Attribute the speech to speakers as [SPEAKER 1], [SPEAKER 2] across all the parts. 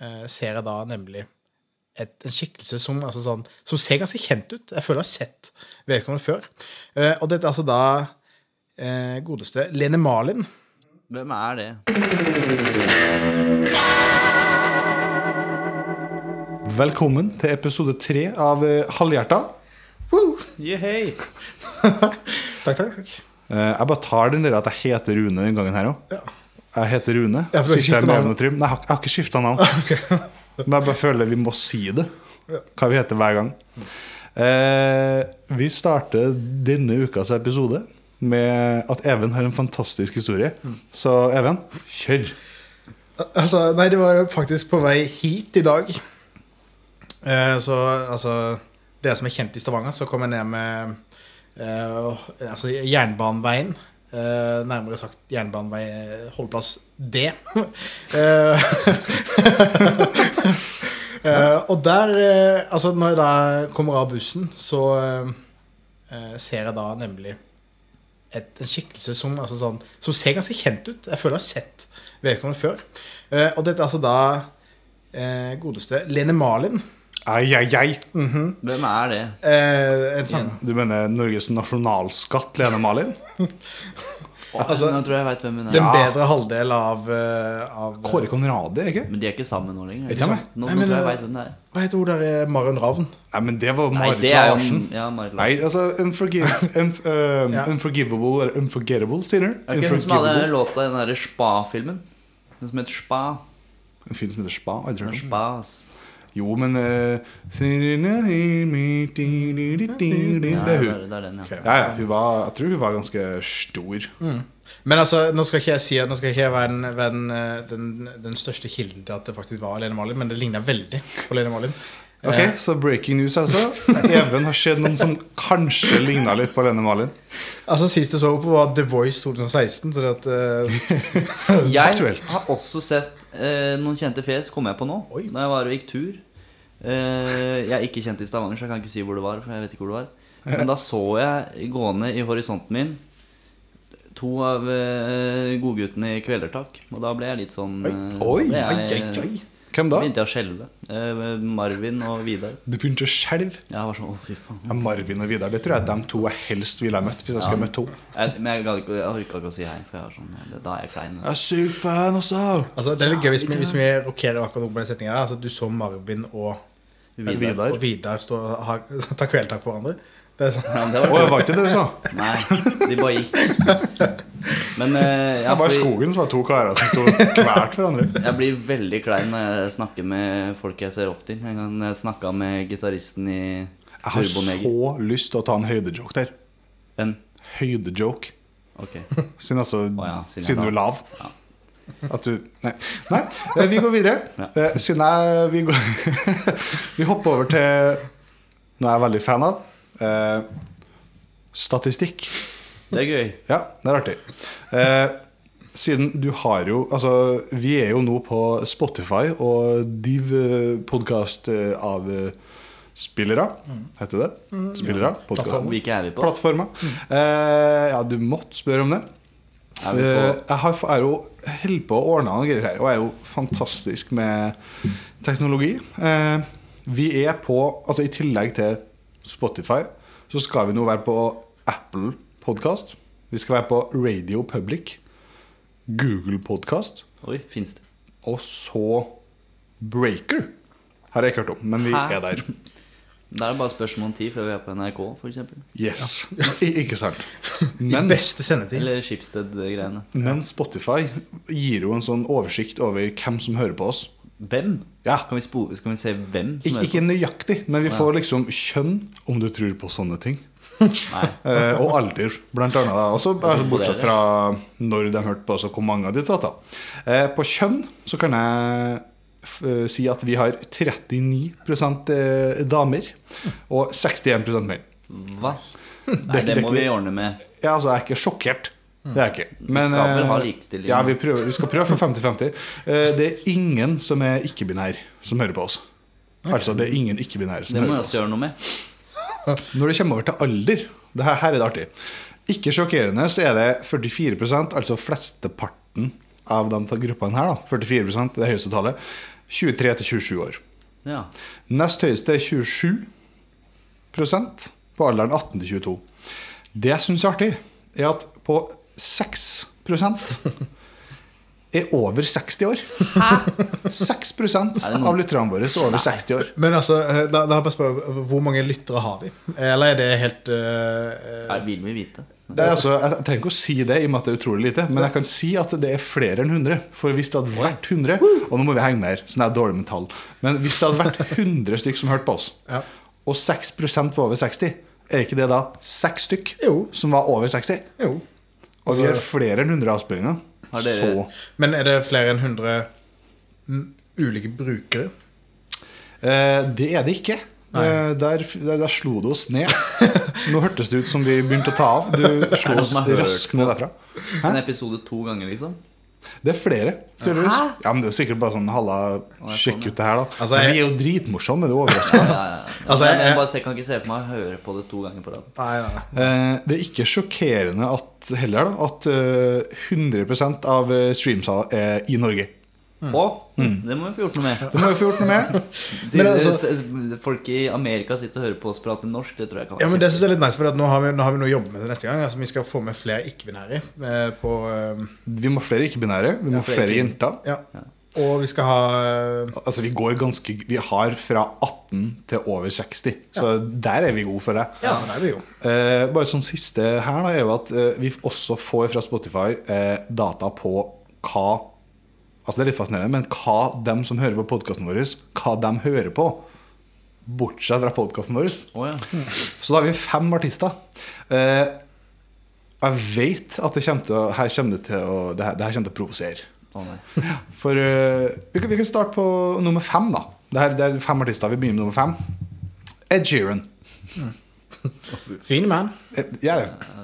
[SPEAKER 1] eh, ser jeg da nemlig et, en skikkelse som, altså sånn, som ser ganske kjent ut. Jeg føler jeg har sett vedkommende før. Eh, og dette er altså da eh, godeste Lene Malin.
[SPEAKER 2] Hvem er det?
[SPEAKER 3] Velkommen til episode tre av eh, Halvhjerta.
[SPEAKER 2] Yehey!
[SPEAKER 1] Takk, takk. takk.
[SPEAKER 3] Eh, Jeg bare tar den der at jeg heter Rune den gangen her òg.
[SPEAKER 1] Ja.
[SPEAKER 3] Jeg heter Rune.
[SPEAKER 1] Ja, for du har ikke
[SPEAKER 3] Sitter
[SPEAKER 1] skiftet
[SPEAKER 3] jeg med
[SPEAKER 1] navn?
[SPEAKER 3] navnet Trym? Nei, jeg har ikke- jeg har ikke skifta navn. Men jeg bare føler vi må si det. Hva vi heter hver gang. Eh, vi starter denne ukas episode med at Even har en fantastisk historie.
[SPEAKER 1] Mm.
[SPEAKER 3] Så Even, kjør.
[SPEAKER 1] Altså, nei, det var faktisk på vei hit i dag. Eh, så altså Dere som er kjent i Stavanger, så kom jeg ned med eh, altså, Jernbaneveien. Eh, nærmere sagt Jernbanevei holdeplass D. eh, eh, og der eh, Altså, når jeg da kommer av bussen, så eh, ser jeg da nemlig et, en skikkelse som, altså sånn, som ser ganske kjent ut. Jeg føler jeg har sett vedkommende før. Eh, og dette er altså da eh, godeste Lene Malin.
[SPEAKER 3] Ai, ai, ai.
[SPEAKER 1] Mm.
[SPEAKER 2] Hvem er det?
[SPEAKER 1] Eh, en sang.
[SPEAKER 3] Du mener Norges nasjonalskatt, Lene Malin?
[SPEAKER 2] Å,
[SPEAKER 1] Altså,
[SPEAKER 2] nå tror jeg jeg veit hvem hun er.
[SPEAKER 1] Den bedre halvdel av, eh, av
[SPEAKER 3] Kåre Conradi, ikke?
[SPEAKER 2] Men de er ikke sammen nå lenger.
[SPEAKER 3] Er de sammen?
[SPEAKER 2] Nå,
[SPEAKER 1] Nei,
[SPEAKER 2] nå
[SPEAKER 1] men,
[SPEAKER 2] tror jeg jeg
[SPEAKER 1] eh,
[SPEAKER 2] vet hvem det er.
[SPEAKER 1] Hva heter hun der? eh, Marion Ravn.
[SPEAKER 3] Nei, men det var
[SPEAKER 2] Nei,
[SPEAKER 3] Marit
[SPEAKER 2] det er jo
[SPEAKER 3] Larsen.
[SPEAKER 2] ja, Marit Larsen.
[SPEAKER 3] Nei, altså unforgiv, unf, eh,
[SPEAKER 1] Ja.
[SPEAKER 3] Unforgivable eller Unforgettable, sier du?
[SPEAKER 2] Er det ikke hun som hadde
[SPEAKER 3] Unforgivable.
[SPEAKER 2] låta i den derre Spa-filmen? Den som heter Spa.
[SPEAKER 3] Mm. En film som heter Spa? aldri hørt om.
[SPEAKER 2] Spa, ass.
[SPEAKER 3] Jo, men eh, Det
[SPEAKER 2] Ja,
[SPEAKER 3] er
[SPEAKER 2] det
[SPEAKER 3] hun.
[SPEAKER 2] er, det er den, ja.
[SPEAKER 1] Ok.
[SPEAKER 3] Ja, ja, hun var, jeg tror hun var ganske stor.
[SPEAKER 1] Men altså, nå skal ikke jeg si at- Nå skal ikke jeg være, den, være den, eh, den, den største kilden til at det faktisk var Lene Malin, men det ligner veldig på Lene Eh, Malin.
[SPEAKER 3] Ok, Så breaking news, altså. Even har sett noen som kanskje ligna litt på Lene Malin.
[SPEAKER 1] Altså, Sist jeg så henne på, var The Voice 2016. Så det at, eh,
[SPEAKER 2] Jeg
[SPEAKER 3] Aktuelt.
[SPEAKER 2] har også sett eh, noen kjente fjes, kom jeg på nå,
[SPEAKER 1] Oi.
[SPEAKER 2] da jeg var og gikk tur. Eh, jeg er ikke kjent i Stavanger, så jeg kan ikke si hvor det var. For jeg vet ikke hvor det var Men da så jeg gående i horisonten min to av eh, godguttene i Kvelertak. Og da ble jeg litt sånn eh, da ble jeg,
[SPEAKER 3] Hvem da?
[SPEAKER 2] Begynte jeg å skjelve. Eh, Marvin og Vidar.
[SPEAKER 3] Du begynte å skjelve.
[SPEAKER 2] Jeg var sånn, å fy faen
[SPEAKER 3] Ja, Marvin og Vidar. Det tror jeg de to jeg helst ville ha møtt. Hvis jeg skulle møtt to.
[SPEAKER 2] Jeg, men jeg, gadd ikke- jeg orka ikke å si hei, for jeg var sånn det- Da er jeg klein.
[SPEAKER 3] Jeg er sykt fan, altså.
[SPEAKER 1] altså, det er litt gøy hvis vi, hvis vi rokerer akkurat om på den setningen her. Altså, du så Marvin og
[SPEAKER 2] Vidar.
[SPEAKER 1] Og Vidar står og har, tar kvelertak på hverandre. Det er sånn.
[SPEAKER 2] Ja, men det
[SPEAKER 3] Å,
[SPEAKER 2] var
[SPEAKER 3] jeg var ikke det du sa?
[SPEAKER 2] Nei, de bare gikk. Men eh,
[SPEAKER 3] Det
[SPEAKER 2] jeg,
[SPEAKER 3] var i
[SPEAKER 2] får,
[SPEAKER 3] skogen så var det to karer som sto hvert hverandre.
[SPEAKER 2] jeg blir veldig klein når jeg snakker med folk jeg ser opp til. En gang jeg snakka med gitaristen i
[SPEAKER 3] Jeg har
[SPEAKER 2] Turboneger.
[SPEAKER 3] så lyst til å ta en høydejoke der.
[SPEAKER 2] Hvem?
[SPEAKER 3] Høydejoke.
[SPEAKER 2] Ok.
[SPEAKER 3] Siden, altså,
[SPEAKER 2] ja, siden jeg
[SPEAKER 3] siden
[SPEAKER 2] er
[SPEAKER 3] du er lav. At du Nei. nei. eh, Vi går videre.
[SPEAKER 2] Ja.
[SPEAKER 3] Eh, Siden jeg vi, går, vi hopper over til noe jeg er veldig fan av. Eh, statistikk.
[SPEAKER 2] Det er gøy.
[SPEAKER 3] Ja, det er artig. Eh, siden du har jo Altså, vi er jo nå på Spotify og div podkast av eh, spillere, heter det? Spillere? Podkast?
[SPEAKER 2] Hvilke er vi på?
[SPEAKER 3] Plattformer. Eh, ja, du måtte spørre om det.
[SPEAKER 2] Er vi
[SPEAKER 3] Eh,
[SPEAKER 2] på
[SPEAKER 3] Jeg har, er jo holdt på å ordne noen greier her, og er jo fantastisk med teknologi. Eh, Vi er på Altså i tillegg til Spotify, så skal vi nå være på Apple Podcast. Vi skal være på Radio Public, Google Podcast
[SPEAKER 2] Oi, fins det?
[SPEAKER 3] og så Breaker. Har jeg ikke hørt om, men vi
[SPEAKER 2] Hæ?
[SPEAKER 3] er der.
[SPEAKER 2] Da er det bare spørsmål om tid før vi er på NRK, f.eks.
[SPEAKER 3] Yes. I, ikke sant?
[SPEAKER 1] I
[SPEAKER 3] Men
[SPEAKER 1] beste sendetid.
[SPEAKER 2] Eller Schibsted-greiene.
[SPEAKER 3] Men Spotify gir jo en sånn oversikt over hvem som hører på oss.
[SPEAKER 2] Hvem?
[SPEAKER 3] Ja.
[SPEAKER 2] Kan vi, spo- skal vi se hvem? som
[SPEAKER 3] Ik
[SPEAKER 2] er på?
[SPEAKER 3] ikke nøyaktig, men vi
[SPEAKER 2] Ja.
[SPEAKER 3] får liksom kjønn, om du tror på sånne ting.
[SPEAKER 2] Nei.
[SPEAKER 3] Eh, og alder, blant annet. da. Også, altså, bortsett fra når de hørte på oss, og hvor mange av de tatt. da. Eh, på kjønn så kan jeg f eh, si at vi har 39 eh, damer og 61 menn.
[SPEAKER 2] Hva? Nei,
[SPEAKER 3] Dekk-
[SPEAKER 2] det må
[SPEAKER 3] dekk-
[SPEAKER 2] vi ordne med.
[SPEAKER 3] Ja, altså, jeg er ikke sjokkert. Det er jeg ikke. Men,
[SPEAKER 2] skal vel ha
[SPEAKER 3] eh,
[SPEAKER 2] likestilling.
[SPEAKER 3] Ja, vi, prøver, vi skal prøve for 50-50. Eh, det er ingen som er ikke-binær, som hører på oss. Altså, det er ingen ikke-binære som
[SPEAKER 2] Det må jeg
[SPEAKER 3] hører på oss.
[SPEAKER 2] også gjøre noe med.
[SPEAKER 3] Når det kommer over til alder det her, her er det artig. Ikke sjokkerende så er det 44 altså flesteparten av de ta- gruppene her, da, 44 det høyeste tallet, 23 til 27 år.
[SPEAKER 2] Ja.
[SPEAKER 3] Nest høyeste er 27 på alderen 18 til 22. Det jeg syns er artig, er at på 6 er over 60 år. 6
[SPEAKER 2] noen-
[SPEAKER 3] av lytterne våre er over 60 år.
[SPEAKER 1] Men altså, eh, da, da bare spør, jeg, hvor mange lyttere har vi? Eller er det helt eh,
[SPEAKER 2] Nei, vil vi vite.
[SPEAKER 3] Det er altså, jeg trenger ikke å si det, i og med at det er utrolig lite, men jeg kan si at det er flere enn 100. For hvis det hadde vært 100 Og nå må vi henge med her, sånn er jeg dårlig med tall. Men hvis det hadde vært 100 stykk som hørte på oss,
[SPEAKER 1] Ja.
[SPEAKER 3] og 6 var over 60, er ikke det da 6 stykk
[SPEAKER 1] Jo.
[SPEAKER 3] som var over 60?
[SPEAKER 1] Jo.
[SPEAKER 3] Og vi
[SPEAKER 1] Altså-
[SPEAKER 3] har flere enn 100 avspillinger.
[SPEAKER 2] Har
[SPEAKER 3] Så
[SPEAKER 2] dere-
[SPEAKER 1] Men er det flere enn 100 mm, ulike brukere?
[SPEAKER 3] eh, Det er det ikke.
[SPEAKER 1] Nei.
[SPEAKER 3] Eh, der, der, der slo det oss ned. Nå hørtes det ut som vi begynte å ta av. Du slo
[SPEAKER 2] noen
[SPEAKER 3] oss
[SPEAKER 2] som har hørt
[SPEAKER 3] raskt ned derfra. Hæ?
[SPEAKER 2] En episode to ganger, liksom?
[SPEAKER 3] Det er flere, tydeligvis. Ja, men det er sikkert bare sånn halla,
[SPEAKER 2] jeg
[SPEAKER 3] sjekk
[SPEAKER 2] sånn,
[SPEAKER 3] ut det her, da.
[SPEAKER 1] Altså, jeg-
[SPEAKER 3] Men vi er jo dritmorsomme, det overrasker.
[SPEAKER 2] Ja, ja, ja.
[SPEAKER 1] Altså,
[SPEAKER 2] Nei,
[SPEAKER 1] jeg-
[SPEAKER 2] men jeg bare ser- kan ikke se på meg å høre på det to ganger på rad.
[SPEAKER 1] Nei, nei, nei.
[SPEAKER 3] Eh, det er ikke sjokkerende at, heller, da, at eh, 100 av eh, streamsa er i Norge. Mm.
[SPEAKER 2] Å, Det må vi få gjort noe med.
[SPEAKER 3] Det må vi få gjort noe med.
[SPEAKER 2] De,
[SPEAKER 1] Men altså-
[SPEAKER 2] s- Folk i Amerika sitter og hører på oss prate norsk. Det tror jeg kan
[SPEAKER 1] Ja, men Det synes jeg er litt nice, for at nå, har vi, nå har vi noe å jobbe med til neste gang. Altså, Vi skal få med flere ikke-binære. eh, på, eh,
[SPEAKER 3] Vi må ha flere ikke-binære. Vi må ha
[SPEAKER 2] flere
[SPEAKER 3] flere
[SPEAKER 2] kvinner.
[SPEAKER 3] jenter.
[SPEAKER 1] ja. Og vi skal ha eh,
[SPEAKER 3] Altså, vi går ganske Vi har fra 18 til over 60, så der er vi gode, føler jeg.
[SPEAKER 1] Ja, det er vi jo.
[SPEAKER 3] Eh, bare sånn siste her da, er jo at eh, vi også får fra Spotify eh, data på hva Altså det er litt fascinerende, men hva dem som hører på podkasten vår, hva de hører på. Bortsett fra podkasten vår.
[SPEAKER 2] Å, ja.
[SPEAKER 3] Så Mm. da har vi fem artister. Eh, jeg vet at det kommer til å, her kommer det til å, det her, det her kommer til å provosere.
[SPEAKER 2] Å, nei.
[SPEAKER 3] For eh, vi, kan, vi kan starte på nummer fem, da. Det, her, det er fem artister. Vi begynner med nummer fem. Ed Sheeran.
[SPEAKER 1] Fin man.
[SPEAKER 3] Eh, Ja,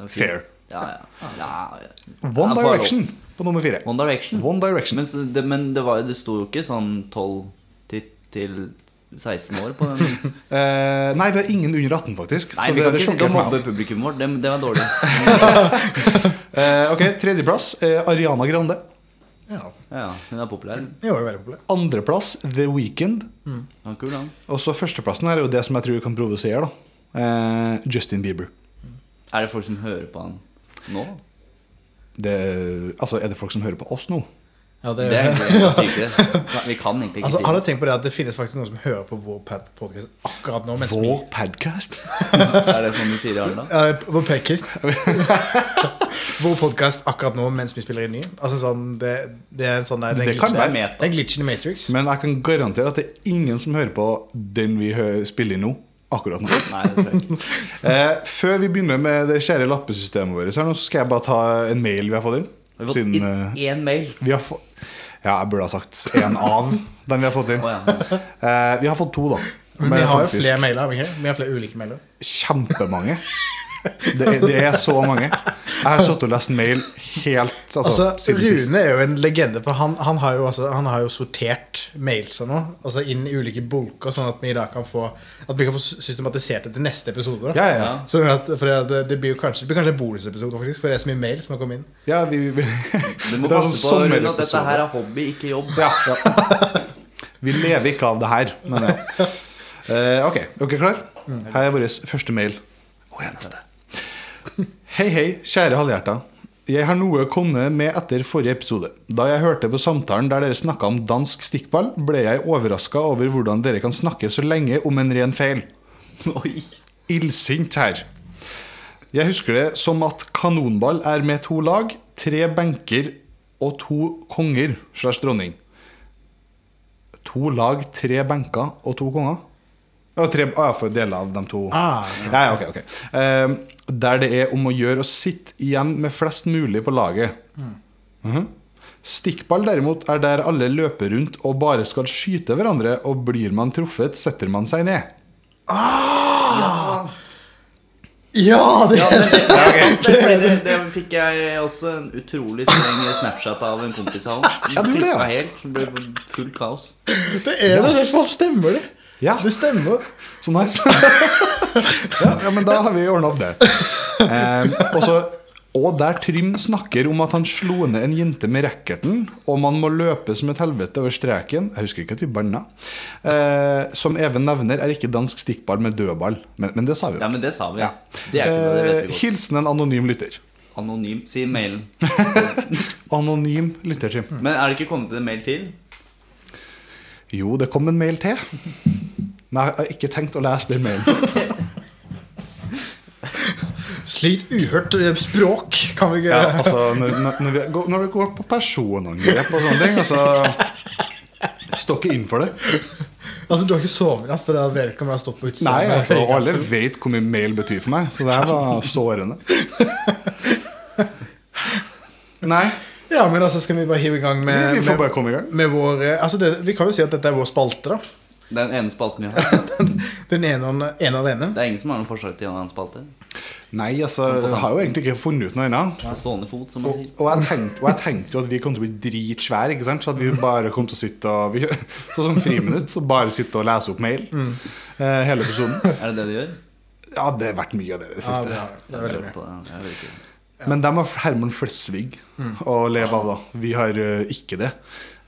[SPEAKER 3] fair.
[SPEAKER 2] Ja, ja. ja, ja. Ja,
[SPEAKER 3] One
[SPEAKER 2] får jeg
[SPEAKER 3] Direction på nummer fire.
[SPEAKER 2] lov. One Direction.
[SPEAKER 3] One Direction.
[SPEAKER 2] Men, så- det, men det, var, det sto jo ikke sånn 12 til, til 16 år på den.
[SPEAKER 3] Eh, nei, vi har ingen under 18, faktisk.
[SPEAKER 2] Nei,
[SPEAKER 3] så
[SPEAKER 2] vi
[SPEAKER 3] det-
[SPEAKER 2] kan
[SPEAKER 3] det
[SPEAKER 2] ikke sitte
[SPEAKER 3] sjokkerte
[SPEAKER 2] og
[SPEAKER 3] meg.
[SPEAKER 2] mobbe publikum vårt. Det, det var dårlig.
[SPEAKER 3] Eh, ok, Tredjeplass eh, Ariana Grande.
[SPEAKER 1] Ja.
[SPEAKER 2] Ja, hun er populær.
[SPEAKER 1] Det var jo veldig populært.
[SPEAKER 3] Andreplass The Weekend.
[SPEAKER 2] Han er kul, han.
[SPEAKER 3] Og så førsteplassen her er jo det som jeg tror kan provosere. da eh, Justin Bieber.
[SPEAKER 2] Er det folk som hører på han nå?
[SPEAKER 3] Det, altså, Er det folk som hører på oss nå?
[SPEAKER 1] Ja,
[SPEAKER 2] Det er egentlig sykere. Vi kan egentlig ikke
[SPEAKER 1] Altså,
[SPEAKER 2] si
[SPEAKER 1] har du
[SPEAKER 2] det.
[SPEAKER 1] tenkt på det at det finnes faktisk noen som hører på vår podkast akkurat nå? Mens
[SPEAKER 3] Vår podcast?
[SPEAKER 2] Er det sånn de sier i Arendal?
[SPEAKER 1] vi, Eh, vår podcast. vår podcast akkurat nå mens vi spiller inn ny. Altså, sånn, det, det er en sånn der,
[SPEAKER 3] Det kan
[SPEAKER 2] Det er
[SPEAKER 3] være.
[SPEAKER 1] Det
[SPEAKER 2] meta.
[SPEAKER 1] er glitch in the matrix.
[SPEAKER 3] Men jeg kan garantere at det er ingen som hører på den vi hø spiller nå. Akkurat nå.
[SPEAKER 2] Nei, det tror jeg ikke.
[SPEAKER 3] Eh, før vi begynner med det kjære lappesystemet vårt, her nå, så skal jeg bare ta en mail vi har fått inn.
[SPEAKER 2] Har vi fått
[SPEAKER 3] eh,
[SPEAKER 2] inn én mail?
[SPEAKER 3] Vi har fått Ja, jeg burde ha sagt en av dem vi har fått inn.
[SPEAKER 2] Å ja.
[SPEAKER 3] Eh, vi har fått to, da.
[SPEAKER 1] Men vi
[SPEAKER 3] Men
[SPEAKER 1] har jo
[SPEAKER 3] faktisk
[SPEAKER 1] flere mailer. har Vi ikke? Vi har flere ulike mailer.
[SPEAKER 3] Kjempemange. Det er, det er så mange. Jeg har sittet og lest mail helt altså,
[SPEAKER 1] Altså,
[SPEAKER 3] siden sist.
[SPEAKER 1] Rune er jo en legende, for han, han, har, jo, altså, han har jo sortert mailsa nå. Altså inn i ulike bulker, sånn at vi da kan få At vi kan få systematisert det til neste episode. da.
[SPEAKER 3] Ja, ja.
[SPEAKER 2] Ja.
[SPEAKER 1] Sånn at, for det, det blir jo kanskje, det blir kanskje en bonusepisode, faktisk, for det er så mye mail som har kommet inn.
[SPEAKER 3] ja vi, vi,
[SPEAKER 2] Du må
[SPEAKER 3] Det er en
[SPEAKER 2] passe på
[SPEAKER 3] sånn
[SPEAKER 2] Rune, at dette
[SPEAKER 3] sommerepisode.
[SPEAKER 2] her er hobby, ikke jobb.
[SPEAKER 3] ja, ja. Vi lever ikke av det her, men ja. Eh, ok, er dere klar? Her er vår første mail. Og eneste. Hei, hei, kjære halvhjerta. Jeg har noe å komme med etter forrige episode. Da jeg hørte på samtalen der dere snakka om dansk stikkball, ble jeg overraska over hvordan dere kan snakke så lenge om en ren feil.
[SPEAKER 2] Oi.
[SPEAKER 3] Illsint her. Jeg husker det som at kanonball er med to lag, tre benker og to konger slash dronning. To lag, tre benker og to konger? Ja, tre, ah, ja, for deler av de to.
[SPEAKER 1] Ah,
[SPEAKER 3] ja, ja, ok, ok. Ehm, der det er om å gjøre å sitte igjen med flest mulig på laget. Mhm. Stikkball derimot er der alle løper rundt og bare skal skyte hverandre, og blir man truffet, setter man seg ned.
[SPEAKER 1] Ja! Det,
[SPEAKER 2] Ja, men det, det, er sant, det, fordi det, det fikk jeg også en utrolig streng Snapchat av en kompis av ham.
[SPEAKER 3] Ja, du gjorde det, ja.
[SPEAKER 2] Klikket helt. Det ble fullt kaos.
[SPEAKER 1] det er det. Det stemmer, det.
[SPEAKER 3] Ja.
[SPEAKER 1] Det stemmer.
[SPEAKER 3] Så nice. ja, ja, men da har vi ordna opp det. Eh, og så Og der Trym snakker om at han slo ned en jente med rackerten, og man må løpe som et helvete over streken Jeg husker ikke at vi banna. Eh, som Even nevner, er ikke dansk stikkball med dødball. Men, men det sa vi
[SPEAKER 2] Ja,
[SPEAKER 3] jo.
[SPEAKER 2] men det sa vi.
[SPEAKER 3] Ja.
[SPEAKER 2] Det er ikke noe, det vet
[SPEAKER 3] Eh,
[SPEAKER 2] vi godt.
[SPEAKER 3] Hilsen en anonym lytter.
[SPEAKER 2] Anonym. Si mailen.
[SPEAKER 3] Anonym lytter, Trym.
[SPEAKER 2] Men er det ikke kommet en mail til?
[SPEAKER 3] Jo, det kom en mail til. Men jeg har ikke tenkt å lese den mailen.
[SPEAKER 1] Slikt uhørt eh, språk kan vi ikke
[SPEAKER 3] Ja, altså, når, når, når vi går- når det går på personangrep og sånne ting, altså Står ikke inn for det.
[SPEAKER 1] Altså, Du har ikke sovet natt fordi at vedkommende har stått på utsiden?
[SPEAKER 3] Nei,
[SPEAKER 1] med
[SPEAKER 3] altså, og alle
[SPEAKER 1] høykaffe.
[SPEAKER 3] vet hvor mye mail betyr for meg, så det her var sårende. Nei,
[SPEAKER 1] Ja, men altså, skal vi bare hive i gang med,
[SPEAKER 3] vi, vi får
[SPEAKER 1] med,
[SPEAKER 3] bare komme i gang.
[SPEAKER 1] med vår eh, Altså, det, Vi kan jo si at dette er vår spalte, da.
[SPEAKER 2] Det er den ene spalten vi har.
[SPEAKER 1] Den ene og den ene alene.
[SPEAKER 2] Det er ingen som har noen forslag til en annen spalte.
[SPEAKER 3] Nei, altså, jeg har jo egentlig ikke funnet ut noe ennå.
[SPEAKER 2] På stående fot, som man
[SPEAKER 3] Og,
[SPEAKER 2] sier.
[SPEAKER 3] og, jeg tenkte- og jeg tenkte jo at vi kom til å bli dritsvære, ikke sant? Så at vi bare kom til å sitte og vi, Sånn som friminutt, så bare sitte og lese opp mail eh, hele episoden.
[SPEAKER 2] Er det det de gjør?
[SPEAKER 3] Ja, det har vært mye av det i det
[SPEAKER 1] Ja,
[SPEAKER 3] siste.
[SPEAKER 1] det er, det er
[SPEAKER 2] Jeg
[SPEAKER 1] veldig bra.
[SPEAKER 2] lurer på det. Jeg vet ikke.
[SPEAKER 3] Men dem har Herman Flesvig å leve av, da. Vi har eh, ikke det.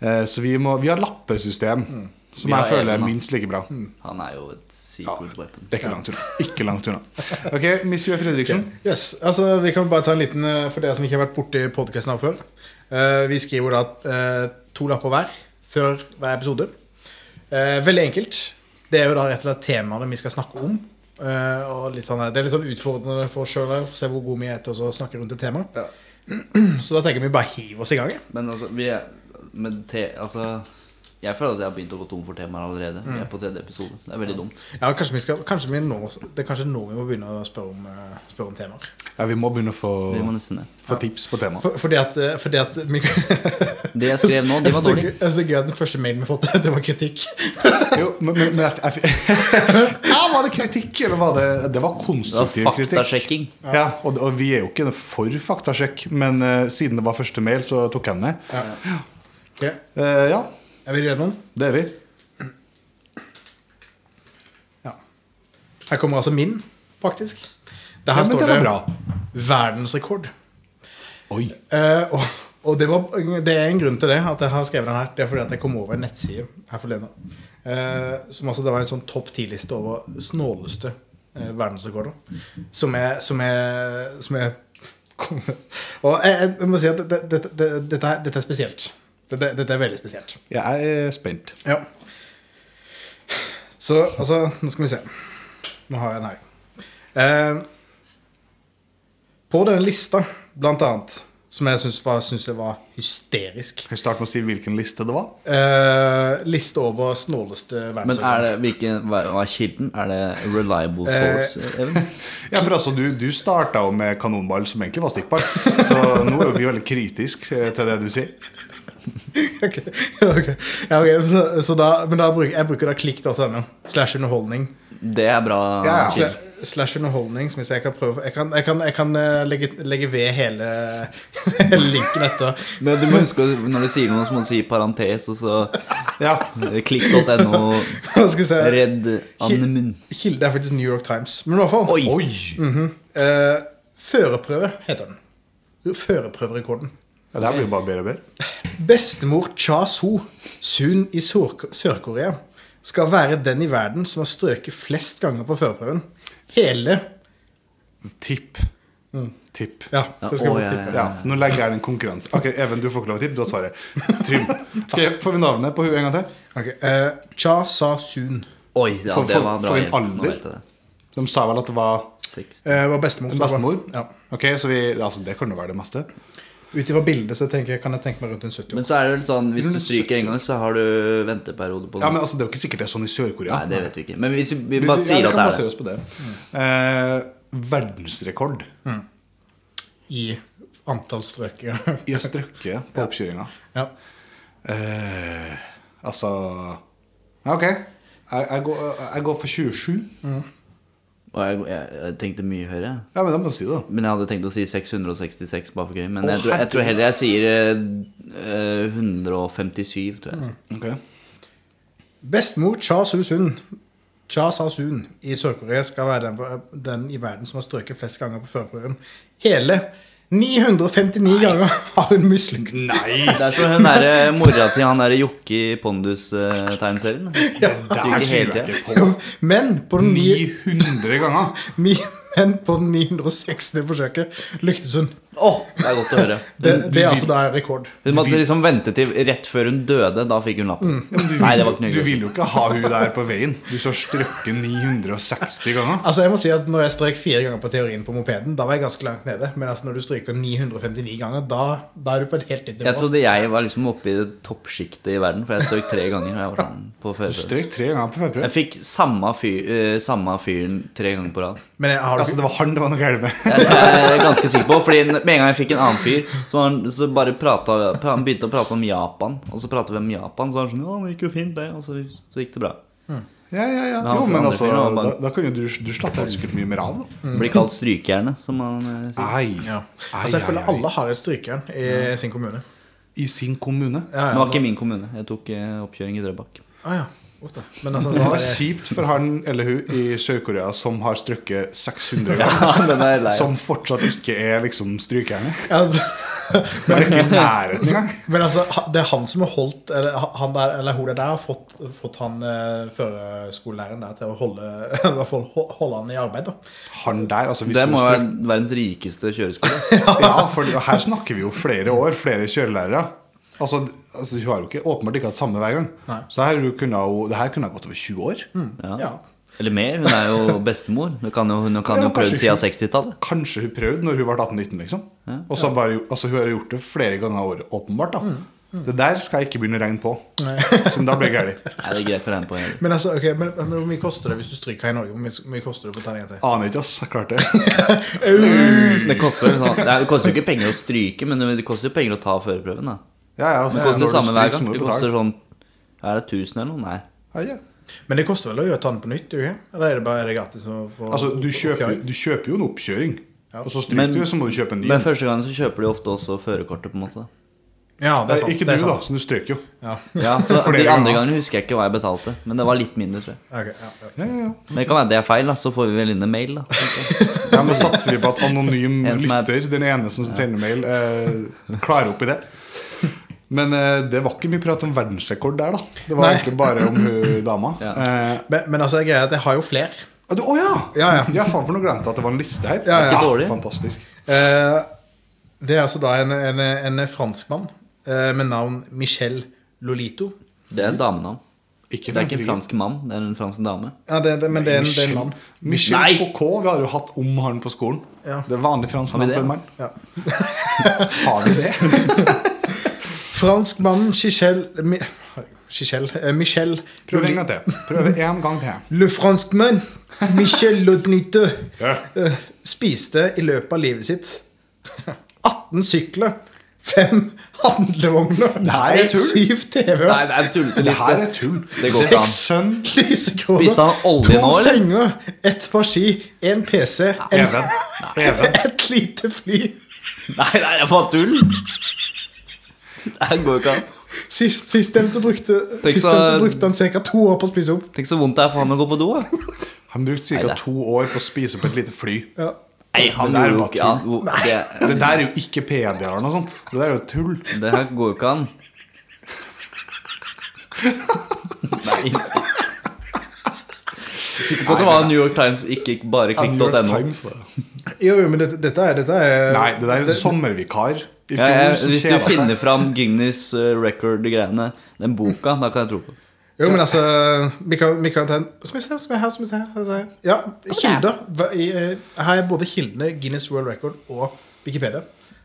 [SPEAKER 3] Eh, så vi, må, vi har lappesystem, som
[SPEAKER 2] Vi har
[SPEAKER 3] jeg føler
[SPEAKER 2] Even,
[SPEAKER 3] er
[SPEAKER 2] da.
[SPEAKER 3] minst like bra.
[SPEAKER 2] Han er jo et secret weapon.
[SPEAKER 3] Det er ikke langt unna. Ikke langt unna. Ok, Monsieur Fredriksen.
[SPEAKER 1] Yes, altså Vi kan bare ta en liten eh, for dere som ikke har vært borti podkasten før. Eh, Vi skriver da eh, to lapper hver før hver episode. Eh, Veldig enkelt. Det er jo da rett og slett temaene vi skal snakke om. Eh, Og litt sånn, her- det er litt sånn utfordrende for oss sjøl å se hvor gode vi er til å snakke rundt et tema. Så da tenker vi bare hiver oss i gang. jeg.
[SPEAKER 2] Men altså, vi er med te, altså Jeg føler at jeg har begynt å gå tom for temaer allerede. Vi
[SPEAKER 3] Mm.
[SPEAKER 2] er på tredje episode. Det er veldig dumt.
[SPEAKER 1] Ja, kanskje vi skal, kanskje vi nå, Det er kanskje nå vi må begynne å spørre om, eh, spørre om temaer.
[SPEAKER 3] Ja, vi må begynne å få,
[SPEAKER 2] Vi må nesten ned.
[SPEAKER 3] få tips på temaet.
[SPEAKER 1] For, fordi at, eh, fordi at vi-
[SPEAKER 2] Det jeg skrev nå, det
[SPEAKER 1] Jeg
[SPEAKER 2] var
[SPEAKER 1] synes
[SPEAKER 2] dårlig.
[SPEAKER 1] jeg synes det er gøy at den første mailen vi har fått, det var kritikk.
[SPEAKER 3] Jo, men, men, men jeg, jeg, ja, Var det kritikk, eller var det Det var
[SPEAKER 2] Det var
[SPEAKER 3] konstruktiv kritikk.
[SPEAKER 2] faktasjekking.
[SPEAKER 3] Ja, og, og vi er jo ikke for faktasjekk, men eh, siden det var første mail, så tok jeg den med.
[SPEAKER 1] Ok,
[SPEAKER 3] Eh, ja,
[SPEAKER 1] Er vi gjennom?
[SPEAKER 3] det er vi.
[SPEAKER 1] Ja. Her kommer altså min, faktisk. Det her
[SPEAKER 3] Ja, men
[SPEAKER 1] står
[SPEAKER 3] det
[SPEAKER 1] det
[SPEAKER 3] var bra.
[SPEAKER 1] verdensrekord.
[SPEAKER 3] Oi.
[SPEAKER 1] Eh, og og det, var, det er en grunn til det, at jeg har skrevet den her. Det er fordi at jeg kom over en nettside her forleden. eh, som altså, det var en sånn topp ti-liste over snåleste eh, verdensrekorder. Som er, som er, som er Og jeg, jeg må si at det, det, det, dette, er, dette er spesielt. Dette, dette er veldig spesielt.
[SPEAKER 3] Jeg er spent.
[SPEAKER 1] Ja. Så altså, nå skal vi se. Nå har jeg den her. Eh, på den lista, blant annet, som jeg syns var, syns jeg var hysterisk
[SPEAKER 3] Skal vi starte med å si hvilken liste det var?
[SPEAKER 1] eh, Liste over snåleste
[SPEAKER 2] Men er
[SPEAKER 1] verdensøkonomi.
[SPEAKER 2] det hvilken Hva hva er kilden? Er det reliable
[SPEAKER 3] Eh.
[SPEAKER 2] source, Even?
[SPEAKER 3] Ja, for altså, Du, du starta jo med kanonball, som egentlig var stikkball. Så nå er jo vi veldig kritiske til det du sier.
[SPEAKER 1] Ok, ok. Ja, ok, så, så da, men da bruker, jeg bruker da klikk.no. Slash underholdning.
[SPEAKER 2] Det er bra.
[SPEAKER 3] Ja, ja.
[SPEAKER 2] kilde.
[SPEAKER 1] Sla- Slash underholdning, som jeg sier, jeg kan prøve Jeg kan, jeg kan, jeg kan eh, legge, legge ved hele, hele linken etter.
[SPEAKER 2] Men du må huske å- når du sier noe, så må du si parentes, og så
[SPEAKER 3] Ja,
[SPEAKER 2] eh, klikk.no,
[SPEAKER 1] Skal vi
[SPEAKER 3] Eh,
[SPEAKER 1] se.
[SPEAKER 2] redd andemund.
[SPEAKER 1] Kilde er faktisk New York Times. Men i hvert fall
[SPEAKER 2] Oi!
[SPEAKER 1] eh, Førerprøve heter den. Førerprøverekorden.
[SPEAKER 3] ja Det her blir jo bare bedre og bedre.
[SPEAKER 1] Bestemor Cha Soo, Sun i Sør- Sør-Korea, skal være den i verden som har strøket flest ganger på førerprøven. Hele
[SPEAKER 3] Tipp. Tipp.
[SPEAKER 1] Mm. Ja,
[SPEAKER 2] Ja,
[SPEAKER 1] det skal
[SPEAKER 2] å,
[SPEAKER 1] vi
[SPEAKER 2] ja,
[SPEAKER 1] tippe.
[SPEAKER 3] Ja, Nå legger jeg inn en konkurranse. Ok, Even, du får ikke lov å tippe. Du har svaret. Trym. Ok, får vi navnet på hun en gang til?
[SPEAKER 1] Ok, eh, Cha Sa Sun
[SPEAKER 2] Oi, ja,
[SPEAKER 3] For-
[SPEAKER 2] det
[SPEAKER 3] for-
[SPEAKER 2] var bra.
[SPEAKER 3] for en
[SPEAKER 2] Even. Nå
[SPEAKER 3] alder.
[SPEAKER 2] vet jeg det.
[SPEAKER 3] De sa vel at det var
[SPEAKER 2] 60.
[SPEAKER 1] eh, var bestemor. som var-
[SPEAKER 3] bestemor?
[SPEAKER 1] Ja.
[SPEAKER 3] Ok, så vi, altså Det kan jo være det meste.
[SPEAKER 1] Ut ifra bildet så tenker jeg, kan jeg tenke meg rundt en 70
[SPEAKER 2] Men
[SPEAKER 1] år.
[SPEAKER 2] så er det vel sånn, hvis du stryker en gang, så har du venteperiode på
[SPEAKER 3] Ja,
[SPEAKER 2] den.
[SPEAKER 3] men altså, Det er jo ikke sikkert det er sånn i Sør-Korea.
[SPEAKER 2] Nei, det vet vi ikke. Men hvis vi
[SPEAKER 3] Hvis-
[SPEAKER 2] bare
[SPEAKER 3] ja, vi
[SPEAKER 2] sier
[SPEAKER 3] kan
[SPEAKER 2] at det
[SPEAKER 3] bare
[SPEAKER 2] er
[SPEAKER 3] se
[SPEAKER 2] det.
[SPEAKER 3] oss på det. Eh, verdensrekord
[SPEAKER 1] I antall strøkinger.
[SPEAKER 3] i å strøkke på oppkjøringa.
[SPEAKER 1] ja.
[SPEAKER 3] Eh, altså Ja, OK. Jeg, jeg, går, jeg går for 27.
[SPEAKER 2] Og jeg, jeg, jeg tenkte mye høyere.
[SPEAKER 3] Ja, men da må du si det, da.
[SPEAKER 2] Men jeg hadde tenkt å si 666 bare for gøy. Men
[SPEAKER 3] Å,
[SPEAKER 2] jeg, tror, jeg tror heller jeg sier eh, eh, 157, tror jeg.
[SPEAKER 3] Ok.
[SPEAKER 1] Bestemor Cha Su-sun Cha Sa-sun i Sør-Korea skal være den, den i verden som har strøket flest ganger på førerprøven. Hele 959 ganger har hun mislykket.
[SPEAKER 3] Nei!
[SPEAKER 2] Det er som hun derre mora til han derre Jokke i Pondus-tegneserien.
[SPEAKER 3] Der
[SPEAKER 2] Ikke hele
[SPEAKER 3] tviler jeg ikke
[SPEAKER 1] Jo,
[SPEAKER 3] på.
[SPEAKER 1] Men på den nye
[SPEAKER 3] 900 ganger!
[SPEAKER 1] Mi- Men på 960. forsøket lyktes hun.
[SPEAKER 2] Åh, det er godt å høre.
[SPEAKER 1] Det, det er altså da en rekord.
[SPEAKER 2] Hun måtte liksom vente til rett før hun døde. Da fikk hun lappen. Nei, det var ikke noe
[SPEAKER 3] Mm. Du
[SPEAKER 2] hyggelig.
[SPEAKER 3] vil jo ikke ha hun der på veien. Du skal strøkke 960 ganger.
[SPEAKER 1] Altså jeg må si at Når jeg strøk fire ganger på teorien på mopeden, da var jeg ganske langt nede. Men altså når du stryker 959 ganger, da, da er du på et helt nytt nivå.
[SPEAKER 2] Jeg trodde jeg var liksom oppe i det toppsjiktet i verden, for jeg strøk tre ganger. og Jeg, var sånn på
[SPEAKER 3] Du
[SPEAKER 2] førerprøven.
[SPEAKER 3] strøk tre ganger på
[SPEAKER 2] jeg
[SPEAKER 3] førerprøven.
[SPEAKER 2] fikk samme, fyr, eh, samme fyren tre ganger på rad.
[SPEAKER 1] Men jeg har
[SPEAKER 3] Altså,
[SPEAKER 1] du
[SPEAKER 3] det var han det var noe galt med.
[SPEAKER 2] Jeg er ganske sikker på Fordi Med en gang jeg fikk en annen fyr, så, var han, så bare prata, han begynte å prate om Japan. Og så pratet vi om Japan, så var han sånn Ja, det gikk jo fint, det. Og så, så gikk det bra.
[SPEAKER 3] Ja, ja, ja.
[SPEAKER 2] Men
[SPEAKER 3] Jo,
[SPEAKER 2] han
[SPEAKER 3] men
[SPEAKER 2] forandret
[SPEAKER 3] altså,
[SPEAKER 2] seg, han
[SPEAKER 3] da,
[SPEAKER 2] bare-
[SPEAKER 3] da kan jo du, du slappe av sikkert mye mer av, da.
[SPEAKER 2] Blir kalt strykejernet, som han eh, sier.
[SPEAKER 3] Ei.
[SPEAKER 1] Mm. ja.
[SPEAKER 3] Ei,
[SPEAKER 1] Altså Jeg
[SPEAKER 3] ei,
[SPEAKER 1] føler
[SPEAKER 3] ei.
[SPEAKER 1] alle har et strykejern i sin kommune.
[SPEAKER 3] I sin kommune.
[SPEAKER 1] Ja,
[SPEAKER 2] Det
[SPEAKER 1] ja,
[SPEAKER 2] var ikke min kommune. Jeg tok eh, oppkjøring i Drøbak.
[SPEAKER 1] ah, ja. Uff da. Men altså,
[SPEAKER 3] Det
[SPEAKER 1] så har
[SPEAKER 3] var
[SPEAKER 1] jeg,
[SPEAKER 3] kjipt for han eller hun i Sør-Korea som har strøkket 600 ganger.
[SPEAKER 2] Ja, den er lei.
[SPEAKER 3] Som fortsatt ikke er liksom strykerne.
[SPEAKER 1] altså,
[SPEAKER 3] Det er ikke i nærheten engang.
[SPEAKER 1] men altså, ha- det er han som har holdt Eller han der, eller hun der, har fått, fått han eh, førerskolelæreren der til å holde, i hvert fall ho- holde han i arbeid. da
[SPEAKER 3] Han der, altså hvis
[SPEAKER 2] Det
[SPEAKER 3] hun
[SPEAKER 2] må
[SPEAKER 3] strøk...
[SPEAKER 2] være verdens rikeste kjøreskole.
[SPEAKER 3] Ja, for her snakker vi jo flere år, flere kjørelærere. Altså, altså hun har jo ikke åpenbart ikke hatt samme hver gang.
[SPEAKER 1] Nei.
[SPEAKER 3] Så her kunne hun, det her kunne ha gått over 20 år.
[SPEAKER 2] Ja.
[SPEAKER 1] Ja.
[SPEAKER 2] Eller mer. Hun er jo bestemor. Hun kan jo, hun kan
[SPEAKER 3] Ja,
[SPEAKER 2] jo prøvd
[SPEAKER 3] kanskje.
[SPEAKER 2] siden 60-tallet.
[SPEAKER 3] Kanskje hun prøvde når hun var 18-19, liksom. Og så bare, altså hun har gjort det flere ganger i året, åpenbart. da. Det der skal jeg ikke begynne å regne på. Så da blir det gærent.
[SPEAKER 2] Nei, det er greit for henne på hele.
[SPEAKER 1] Men altså, ok, men, men hvor mye koster det hvis du stryker her i Norge? Hvor mye, hvor mye koster det på terrenget til?
[SPEAKER 3] Aner ikke, ass. Jeg klarte det. Ah. Mm.
[SPEAKER 2] Det koster jo sånn, Nei, det koster jo ikke penger å stryke, men det koster jo penger å ta førerprøven. da.
[SPEAKER 3] Ja, ja, altså,
[SPEAKER 2] Det koster
[SPEAKER 3] når
[SPEAKER 2] det
[SPEAKER 3] du
[SPEAKER 2] samme hver gang.
[SPEAKER 3] stryker, så må du
[SPEAKER 2] Det
[SPEAKER 3] betale.
[SPEAKER 2] koster sånn Er det 1000 eller noe? Nei.
[SPEAKER 3] Ja, ja.
[SPEAKER 1] Men det koster vel å gjøre ta den på nytt, gjør det ikke? Eller er det bare er det gratis å få
[SPEAKER 3] Altså, du
[SPEAKER 1] å-
[SPEAKER 3] kjøper, jo- du kjøper jo en oppkjøring. Og så stryker
[SPEAKER 2] Men-
[SPEAKER 3] du, så må du kjøpe en ny.
[SPEAKER 2] Men første gangen så kjøper de ofte også førerkortet, på en måte.
[SPEAKER 1] Ja, det er sant.
[SPEAKER 3] Ikke
[SPEAKER 1] det
[SPEAKER 3] du,
[SPEAKER 1] er
[SPEAKER 3] da,
[SPEAKER 1] sant.
[SPEAKER 3] som du strøk jo.
[SPEAKER 1] Ja.
[SPEAKER 2] Ja, så
[SPEAKER 3] Flere
[SPEAKER 2] De andre
[SPEAKER 3] ganger.
[SPEAKER 2] gangene husker jeg ikke hva jeg betalte, men det var litt mindre. tror jeg
[SPEAKER 1] ok, ja, ja.
[SPEAKER 3] Ja, ja, ja.
[SPEAKER 2] Men det kan være det er feil, da. Så får vi vel inn en mail, da.
[SPEAKER 3] Ja, men satser vi på at anonym
[SPEAKER 2] En som er-
[SPEAKER 3] lytter, den ene som sender mail, eh, klarer opp i det. Men eh, det var ikke mye prat om verdensrekord der, da. Det var
[SPEAKER 1] Nei.
[SPEAKER 3] egentlig bare om hun dama.
[SPEAKER 2] Ja.
[SPEAKER 3] Eh,
[SPEAKER 1] Men, men altså, greia er at jeg har jo flere.
[SPEAKER 3] ah, du, å ja!
[SPEAKER 1] Ja, ja.
[SPEAKER 3] faen, for nå glemte jeg at det var en liste her.
[SPEAKER 1] Ja, ja.
[SPEAKER 2] Ikke dårlig.
[SPEAKER 3] Fantastisk.
[SPEAKER 1] Eh, det er altså da en, en, en franskmann eh, med navn Michel Lolito.
[SPEAKER 2] Det er et damenavn.
[SPEAKER 3] Ikke
[SPEAKER 2] Det er ikke en
[SPEAKER 3] Frankrike.
[SPEAKER 2] fransk mann, det er en fransk dame.
[SPEAKER 1] Ja, det, det, men det er en, det er en
[SPEAKER 3] Michel-
[SPEAKER 1] mann.
[SPEAKER 3] Michel
[SPEAKER 2] Nei!
[SPEAKER 3] Foucault, vi har jo hatt om han på skolen.
[SPEAKER 1] Ja.
[SPEAKER 3] Det er vanlig fransk
[SPEAKER 2] Har vi
[SPEAKER 3] navn
[SPEAKER 2] det?
[SPEAKER 3] på en mann.
[SPEAKER 1] Ja.
[SPEAKER 3] Har vi det?
[SPEAKER 1] Franskmannen Chichel Mi, Chichel, eh, Michel
[SPEAKER 3] Prøv en
[SPEAKER 1] Loli-
[SPEAKER 3] gang til. Prøv en gang til.
[SPEAKER 1] Le franskmann Michel Lodnitø
[SPEAKER 3] Ja.
[SPEAKER 1] spiste i løpet av livet sitt 18 sykler, 5 handlevogner,
[SPEAKER 3] Nei, det er tull.
[SPEAKER 1] 7
[SPEAKER 2] Nei,
[SPEAKER 1] TV-er,
[SPEAKER 2] det er en tullete
[SPEAKER 3] Det her
[SPEAKER 2] liste.
[SPEAKER 3] er tull.
[SPEAKER 2] Det går ikke an.
[SPEAKER 3] Seks sønn
[SPEAKER 1] lysekroner,
[SPEAKER 2] Spiste han olje
[SPEAKER 1] to
[SPEAKER 2] nå, eller?
[SPEAKER 1] senger, ett par ski, en PC, en,
[SPEAKER 3] Even. Even.
[SPEAKER 1] et lite fly.
[SPEAKER 2] Nei, det er bare tull! Det her går jo ikke an.
[SPEAKER 1] Sist- Sistnevnte brukte,
[SPEAKER 2] så-
[SPEAKER 1] sistnevnte brukte han ca. to år på å spise opp.
[SPEAKER 2] Tenk så vondt det er for han å gå på do. da.
[SPEAKER 3] Han brukte
[SPEAKER 2] Nei,
[SPEAKER 3] ca.
[SPEAKER 2] det-
[SPEAKER 3] to år på å spise opp et lite fly.
[SPEAKER 1] Ja.
[SPEAKER 2] Nei, han
[SPEAKER 3] Det der
[SPEAKER 2] gjorde jo
[SPEAKER 3] var
[SPEAKER 2] ikke ja, jo, det,
[SPEAKER 3] Det der er jo ikke PD eller noe sånt. Det der er jo tull.
[SPEAKER 2] det her går jo ikke an. Nei. Sikker på at det var New York Times, ikke bare
[SPEAKER 3] Ja, New York
[SPEAKER 2] klikk.no.
[SPEAKER 3] Times, da.
[SPEAKER 1] Jo, jo, men dette, dette er, dette er
[SPEAKER 3] Nei, det der er en sommervikar i
[SPEAKER 2] Ja,
[SPEAKER 3] fjor
[SPEAKER 2] jeg,
[SPEAKER 3] som
[SPEAKER 2] hvis du
[SPEAKER 3] kjeda seg.
[SPEAKER 2] finner fram Guinness eh, record-greiene, den boka, da kan jeg tro på.
[SPEAKER 1] Jo, men altså Vi kan, vi kan ta en Som jeg sa, som jeg har, som jeg sa, altså, Ja, kilder. Hva- i, eh, Her er både kildene Guinness World Record og Wikipedia.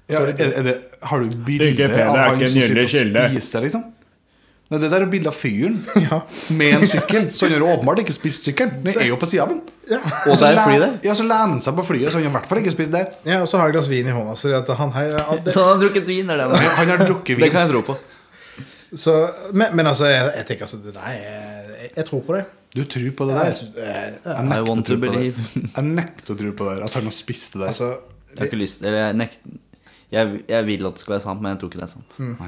[SPEAKER 3] Ja, er, er det, har du bilde
[SPEAKER 4] Ikke PD,
[SPEAKER 3] av
[SPEAKER 4] det er
[SPEAKER 3] han
[SPEAKER 4] ikke en
[SPEAKER 3] som sitter og
[SPEAKER 4] gyldig kilde.
[SPEAKER 3] spiser, liksom? Nei, det der er bilde av fyren
[SPEAKER 1] Ja.
[SPEAKER 3] med en sykkel. Så han har åpenbart ikke spist sykkelen. Den er jo på sida av den.
[SPEAKER 1] Ja.
[SPEAKER 2] Og så er det
[SPEAKER 3] len-
[SPEAKER 2] fly der.
[SPEAKER 3] Ja, så lener han seg på flyet, så han har i hvert fall ikke spist det.
[SPEAKER 1] ja, og så har jeg et glass vin i hånda. Så, det at han her, ja, det,
[SPEAKER 2] Så han har drukket vin, er det han
[SPEAKER 3] Han
[SPEAKER 2] har.
[SPEAKER 3] han har drukket
[SPEAKER 2] Det
[SPEAKER 3] vin.
[SPEAKER 2] kan jeg tro på.
[SPEAKER 1] så, men, men altså, jeg, jeg tenker altså det der, er- jeg, jeg tror på det.
[SPEAKER 3] Du tror på det
[SPEAKER 1] Jeg
[SPEAKER 3] der?
[SPEAKER 1] synes, det er-
[SPEAKER 3] Jeg
[SPEAKER 2] I
[SPEAKER 3] nekter å
[SPEAKER 2] want
[SPEAKER 3] tro
[SPEAKER 2] to
[SPEAKER 3] på det.
[SPEAKER 2] believe.
[SPEAKER 3] Jeg nekter å tro på det. der, At han har spist det der.
[SPEAKER 1] altså,
[SPEAKER 2] Jeg har ikke lyst Eller jeg nekter jeg, jeg vil at det skal være sant, men jeg tror ikke det er sant.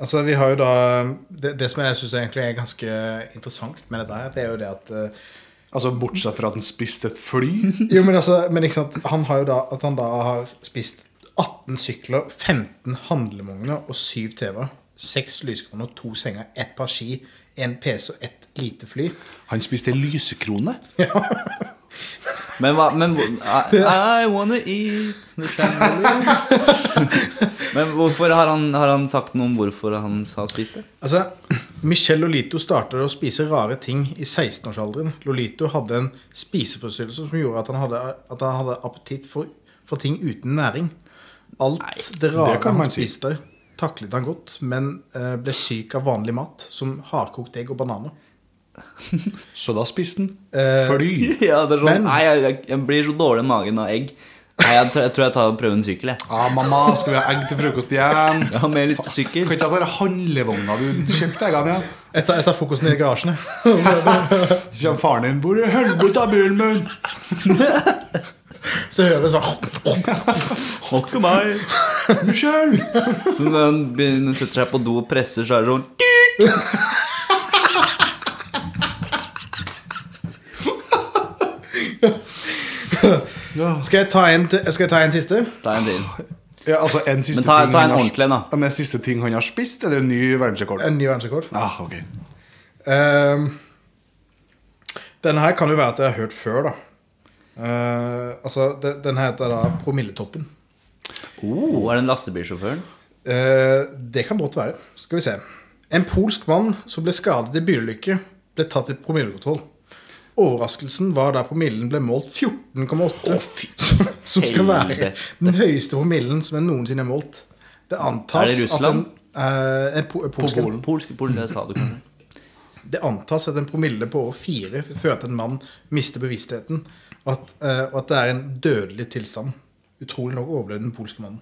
[SPEAKER 1] altså, vi har jo da Det, det som jeg syns egentlig er ganske interessant med dette, her, det er jo det at eh,
[SPEAKER 3] Altså Bortsett fra at han spiste et fly.
[SPEAKER 1] Jo, men altså, men ikke sant, han har jo da, at han da har spist 18 sykler, 15 handlemogner og 7 TV-er. 6 lyskroner, 2 senger, 1 par ski, 1 PC og 1 lite fly.
[SPEAKER 3] Han spiste lysekrone.
[SPEAKER 2] Men hva men, hvor- I, I wanna eat the chandelier. Men hvorfor har han, har han sagt noe om hvorfor han har spist det?
[SPEAKER 1] Altså, Michelle Lolito startet å spise rare ting i 16-årsalderen. Lolito hadde en spiseforstyrrelse som gjorde at han hadde, at han hadde appetitt for, for ting uten næring. Alt det rare
[SPEAKER 3] det kan man
[SPEAKER 1] han
[SPEAKER 3] si.
[SPEAKER 1] spiste, taklet han godt, men eh, ble syk av vanlig mat, som hardkokt egg og bananer.
[SPEAKER 3] Så da spiste han
[SPEAKER 1] Eh,
[SPEAKER 3] fly.
[SPEAKER 2] Ja, det er sånn,
[SPEAKER 1] Men-
[SPEAKER 2] nei, jeg, jeg, jeg blir så dårlig i magen av egg. Nei, jeg, tror- jeg tror jeg tar og prøver en sykkel, jeg.
[SPEAKER 3] Ah, mamma, skal vi ha egg til frokost igjen?
[SPEAKER 2] Ja, med litt
[SPEAKER 3] Kan
[SPEAKER 2] sykkel.
[SPEAKER 3] ikke jeg ta den handlevogna du kjøpte eggene igjen?
[SPEAKER 1] Etter, etter frokosten i garasjen. ja.
[SPEAKER 3] Så kommer faren din. Hvor i helvete er bilen min?
[SPEAKER 1] Så hører jeg sånn
[SPEAKER 2] Takk for meg.
[SPEAKER 3] Michelle!
[SPEAKER 2] Så når han begynner, setter seg på do og presser, så er det sånn
[SPEAKER 3] Ja.
[SPEAKER 1] Skal jeg ta en, til- skal jeg ta en siste?
[SPEAKER 2] Ta en til.
[SPEAKER 3] Ja, altså en siste
[SPEAKER 2] Men ta-
[SPEAKER 3] ting
[SPEAKER 2] ta
[SPEAKER 3] han
[SPEAKER 2] en
[SPEAKER 3] har-
[SPEAKER 2] ordentlig en, da.
[SPEAKER 3] Ja, men siste ting han har spist, eller en ny verdensrekord?
[SPEAKER 1] En ny verdensrekord.
[SPEAKER 3] Ah, ok.
[SPEAKER 1] Ehm, denne her kan jo være at jeg har hørt før, da. Eh, altså, de- den heter da Promilletoppen.
[SPEAKER 2] Oh, er det en lastebilsjåføren?
[SPEAKER 1] Eh, det kan godt være. Skal vi se. En polsk mann som ble skadet i bilulykke, ble tatt i promillekontroll. Overraskelsen var da promillen ble målt 14,8, som, som skal være
[SPEAKER 2] helvete.
[SPEAKER 1] den høyeste promillen som er noensinne er målt. Det antas
[SPEAKER 2] Er det Russland?
[SPEAKER 1] at en, eh, en po polsk en.
[SPEAKER 3] Polen.
[SPEAKER 2] Polske pol, det sa du kanskje.
[SPEAKER 1] Det antas at en promille på over fire fører til at en mann mister bevisstheten, og at, eh, og at det er en dødelig tilstand. Utrolig nok overlevde den polske mannen.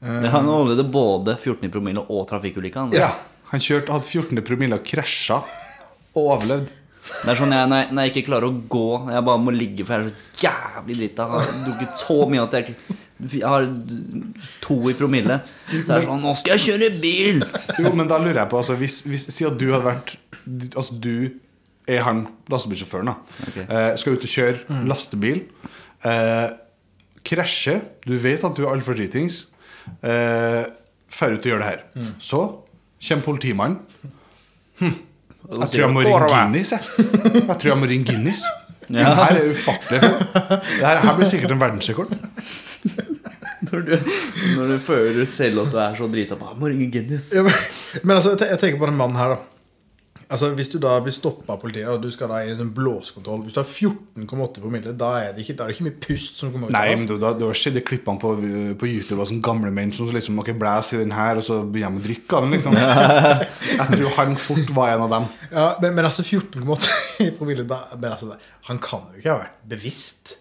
[SPEAKER 2] Men Han overlevde både 14 i promille og trafikkulykka. han.
[SPEAKER 3] Ja, han kjørte, hadde 14 promille og krasja og overlevd.
[SPEAKER 2] Det er sånn jeg, når, jeg, når jeg ikke klarer å gå, når jeg bare må ligge, for jeg er så jævlig drita. Jeg har drukket så mye at jeg, ikke- jeg har to i promille. Så er det sånn Nå skal jeg kjøre bil!
[SPEAKER 3] Jo, men da lurer jeg på, altså, hvis, hvis, si at du hadde vært Altså, du er han lastebilsjåføren, da.
[SPEAKER 2] Ok.
[SPEAKER 3] Eh, skal ut og kjøre lastebil. Eh, krasjer. Du vet at du er altfor dritings. Eh, Drar ut og gjør det her. Så kommer politimannen. Hm.
[SPEAKER 2] Altså,
[SPEAKER 3] Jeg tror jeg må ringe Guinness, jeg. Jeg tror jeg må ringe Guinness. Det
[SPEAKER 2] Ja.
[SPEAKER 3] her er ufattelig. Det her, her blir sikkert en verdensrekord.
[SPEAKER 2] Når du, når du føler selv at du er så drita på Må ringe Guinness.
[SPEAKER 1] Ja, men, men altså, jeg te- jeg tenker på den mannen her, da. Altså, Hvis du da blir stoppa av politiet, og du skal da i en sånn blåsekontroll Hvis du har 14,8 promille, da er det ikke, da er det ikke mye pust som kommer ut.
[SPEAKER 3] Nei,
[SPEAKER 1] av altså.
[SPEAKER 3] men
[SPEAKER 1] oss.
[SPEAKER 3] du, da, du har sett de klippene på, på YouTube av sånne gamle menn som liksom Ok, blæs i den her, og så begynner de å drikke av den, liksom. Jeg tror han fort var en av dem.
[SPEAKER 1] ja, men, men altså, 14,8 i promille da, men altså, det- Han kan jo ikke ha vært bevisst.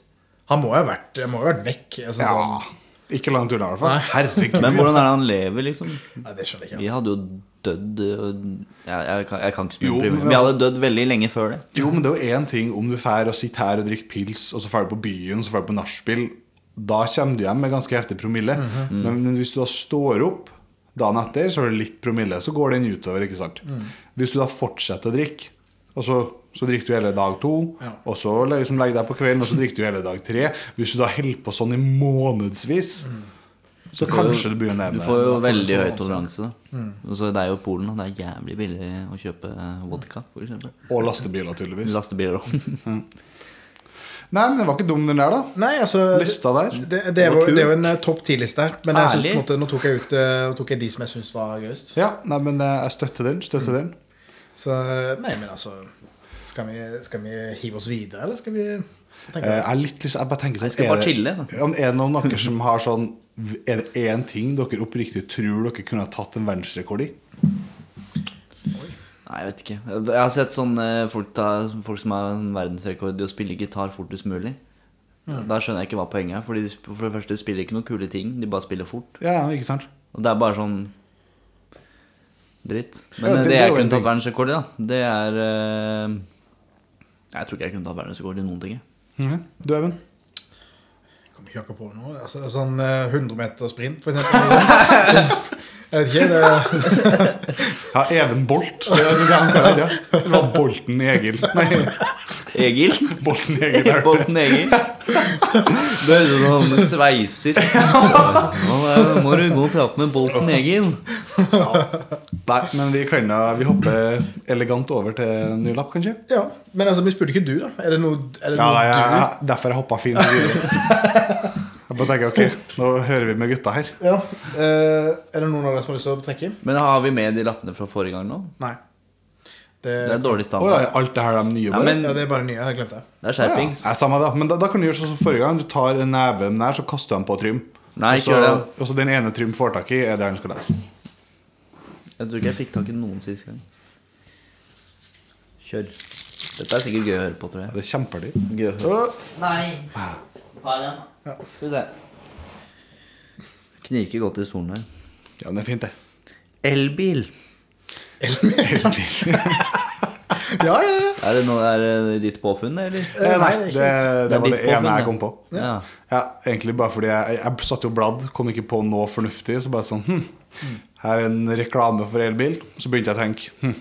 [SPEAKER 1] Han må jo ha vært, han må jo ha vært vekk. Jeg, synes
[SPEAKER 3] Ja,
[SPEAKER 1] sånn,
[SPEAKER 3] Ikke langt unna, i hvert fall. Herregud.
[SPEAKER 2] Men hvordan er det han lever, liksom?
[SPEAKER 1] nei, det skjønner jeg ikke.
[SPEAKER 2] Vi hadde jo dødd øh, jeg, jeg, kan, jeg kan ikke
[SPEAKER 3] Jo,
[SPEAKER 2] spørre
[SPEAKER 3] men altså-
[SPEAKER 2] promille. Vi hadde dødd veldig lenge før det.
[SPEAKER 3] Jo, men det er jo én ting om du fær og sitter her og drikker pils, og så drar du på byen, så drar du på nachspiel. Da kommer du hjem med ganske heftig promille.
[SPEAKER 2] Mhm.
[SPEAKER 3] men, men hvis du da står opp dagen etter, så har du litt promille, så går den utover, ikke sant.
[SPEAKER 2] Mhm.
[SPEAKER 3] Hvis du da fortsetter å drikke, og så, så drikker du hele dag to,
[SPEAKER 1] Ja.
[SPEAKER 3] og så liksom legger deg på kvelden, og så drikker du hele dag tre. Hvis du da holder på sånn i månedsvis, så
[SPEAKER 2] får jo-
[SPEAKER 3] kanskje du begynner å
[SPEAKER 2] Mhm.
[SPEAKER 3] Mm.
[SPEAKER 2] Du
[SPEAKER 3] nevne
[SPEAKER 2] får jo
[SPEAKER 3] det.
[SPEAKER 2] veldig høy toleranse. da. Og så det er jo Polen, og det er jævlig billig å kjøpe vodka, for eksempel.
[SPEAKER 3] Og eh, lastebiler, tydeligvis.
[SPEAKER 2] Lastebiler også.
[SPEAKER 3] Nei, men det var ikke dum, den der, da.
[SPEAKER 1] Nei, altså
[SPEAKER 3] Lista der.
[SPEAKER 1] Det, det, det, er,
[SPEAKER 2] var
[SPEAKER 1] jo-
[SPEAKER 2] kult.
[SPEAKER 1] det er jo en eh, topp ti-liste her. Men jeg synes, på en
[SPEAKER 2] Ærlig.
[SPEAKER 1] måte, nå tok jeg ut eh, Nå tok jeg de som jeg syns var gøyest.
[SPEAKER 3] Ja, nei, men eh, jeg støtter den.
[SPEAKER 2] Mhm.
[SPEAKER 3] Støtter den.
[SPEAKER 1] Så nei, men altså Skal vi, skal vi hive oss videre, eller skal vi
[SPEAKER 3] Eh,
[SPEAKER 1] tenke
[SPEAKER 3] Jeg, er litt lyst, jeg bare tenker sånn
[SPEAKER 2] Jeg skal bare
[SPEAKER 3] er det-
[SPEAKER 2] chille, da.
[SPEAKER 3] Ja, men Er det noen av dere som har sånn Er det én ting dere oppriktig tror dere kunne ha tatt en verdensrekord i?
[SPEAKER 2] Nei, jeg vet ikke. Jeg har sett sånne folk, ta, folk som har en verdensrekord i å spille gitar fortest mulig.
[SPEAKER 3] Mm.
[SPEAKER 2] Da skjønner jeg ikke hva poenget er. Fordi de, sp- for det første de spiller ikke noen kule ting. De bare spiller fort.
[SPEAKER 3] Ja, ikke sant?
[SPEAKER 2] Og det er bare sånn dritt. Men eh,
[SPEAKER 3] Ja, det-
[SPEAKER 2] det,
[SPEAKER 3] det er
[SPEAKER 2] jeg
[SPEAKER 3] jo en
[SPEAKER 2] kunne
[SPEAKER 3] ting.
[SPEAKER 2] tatt verdensrekord i, da, det er eh, Jeg tror ikke jeg kunne tatt verdensrekord i noen ting. jeg.
[SPEAKER 3] Mhm. Du, Even?
[SPEAKER 1] Kommer ikke akkurat på noe. Altså, sånn eh, 100 meter sprint, for eksempel. Jeg vet ikke. Det,
[SPEAKER 3] Ja, Even Bolt. Det var, det han kaller det, ja. det var Bolten Egil. Nei,
[SPEAKER 2] Egil?
[SPEAKER 3] Bolten Egil er det.
[SPEAKER 2] Bolten Egil. Det høres ut som han sveiser. Nå eh, må du gå og prate med Bolten Egil.
[SPEAKER 3] Nei, men vi kan da Vi hopper elegant over til ny lapp, kanskje?
[SPEAKER 1] Ja, Men altså, vi spurte ikke du, da. Er det noe, er det
[SPEAKER 3] Ja,
[SPEAKER 1] noe
[SPEAKER 3] jeg,
[SPEAKER 1] du
[SPEAKER 3] jeg, derfor jeg hoppa fint videre. Jeg bare tenker, ok, nå hører vi med gutta her.
[SPEAKER 1] Ja, eh, Er det noen av dere som har lyst til å trekke?
[SPEAKER 2] Men har vi med de lappene fra forrige gang nå?
[SPEAKER 1] Nei.
[SPEAKER 2] Det er dårlig
[SPEAKER 3] Å ja,
[SPEAKER 2] standard.
[SPEAKER 3] alt det her er de nye
[SPEAKER 2] Ja,
[SPEAKER 3] bare?
[SPEAKER 2] men
[SPEAKER 1] Ja, det er bare nye. Jeg glemte det.
[SPEAKER 2] det er
[SPEAKER 3] Ja, ja.
[SPEAKER 2] skjerpings.
[SPEAKER 3] Nei, samme det. Men da, da kan du gjøre sånn som forrige gang. Du tar neven der, så kaster du den på Trym.
[SPEAKER 2] Nei,
[SPEAKER 3] og,
[SPEAKER 2] ikke
[SPEAKER 3] så,
[SPEAKER 2] gjør
[SPEAKER 3] og så den ene Trym får tak i, er det han skal lese.
[SPEAKER 2] Jeg tror ikke jeg fikk tak i noen sist gang. Kjør. Dette er sikkert gøy å høre på, tror
[SPEAKER 3] Ja,
[SPEAKER 2] jeg.
[SPEAKER 3] det er kjempelig.
[SPEAKER 2] Gøy å høre.
[SPEAKER 3] Øh,
[SPEAKER 2] Nei. Ta den. Skal vi se. Knirker godt i stolen her.
[SPEAKER 3] Ja, men det er fint, det.
[SPEAKER 2] Elbil.
[SPEAKER 3] Elbil.
[SPEAKER 1] Ja, ja, ja.
[SPEAKER 2] Er det noe er det ditt påfunn, eller?
[SPEAKER 1] Eh, nei, det er ikke
[SPEAKER 3] det, det,
[SPEAKER 2] Det er
[SPEAKER 3] var
[SPEAKER 2] ditt
[SPEAKER 3] det ene
[SPEAKER 2] påfunn,
[SPEAKER 3] jeg
[SPEAKER 2] det.
[SPEAKER 3] kom på.
[SPEAKER 2] Ja.
[SPEAKER 3] Ja, Egentlig bare fordi jeg, jeg satt jo bladd, kom ikke på noe fornuftig. Så bare sånn hm, Her er en reklame for elbil. Så begynte jeg å tenke hm,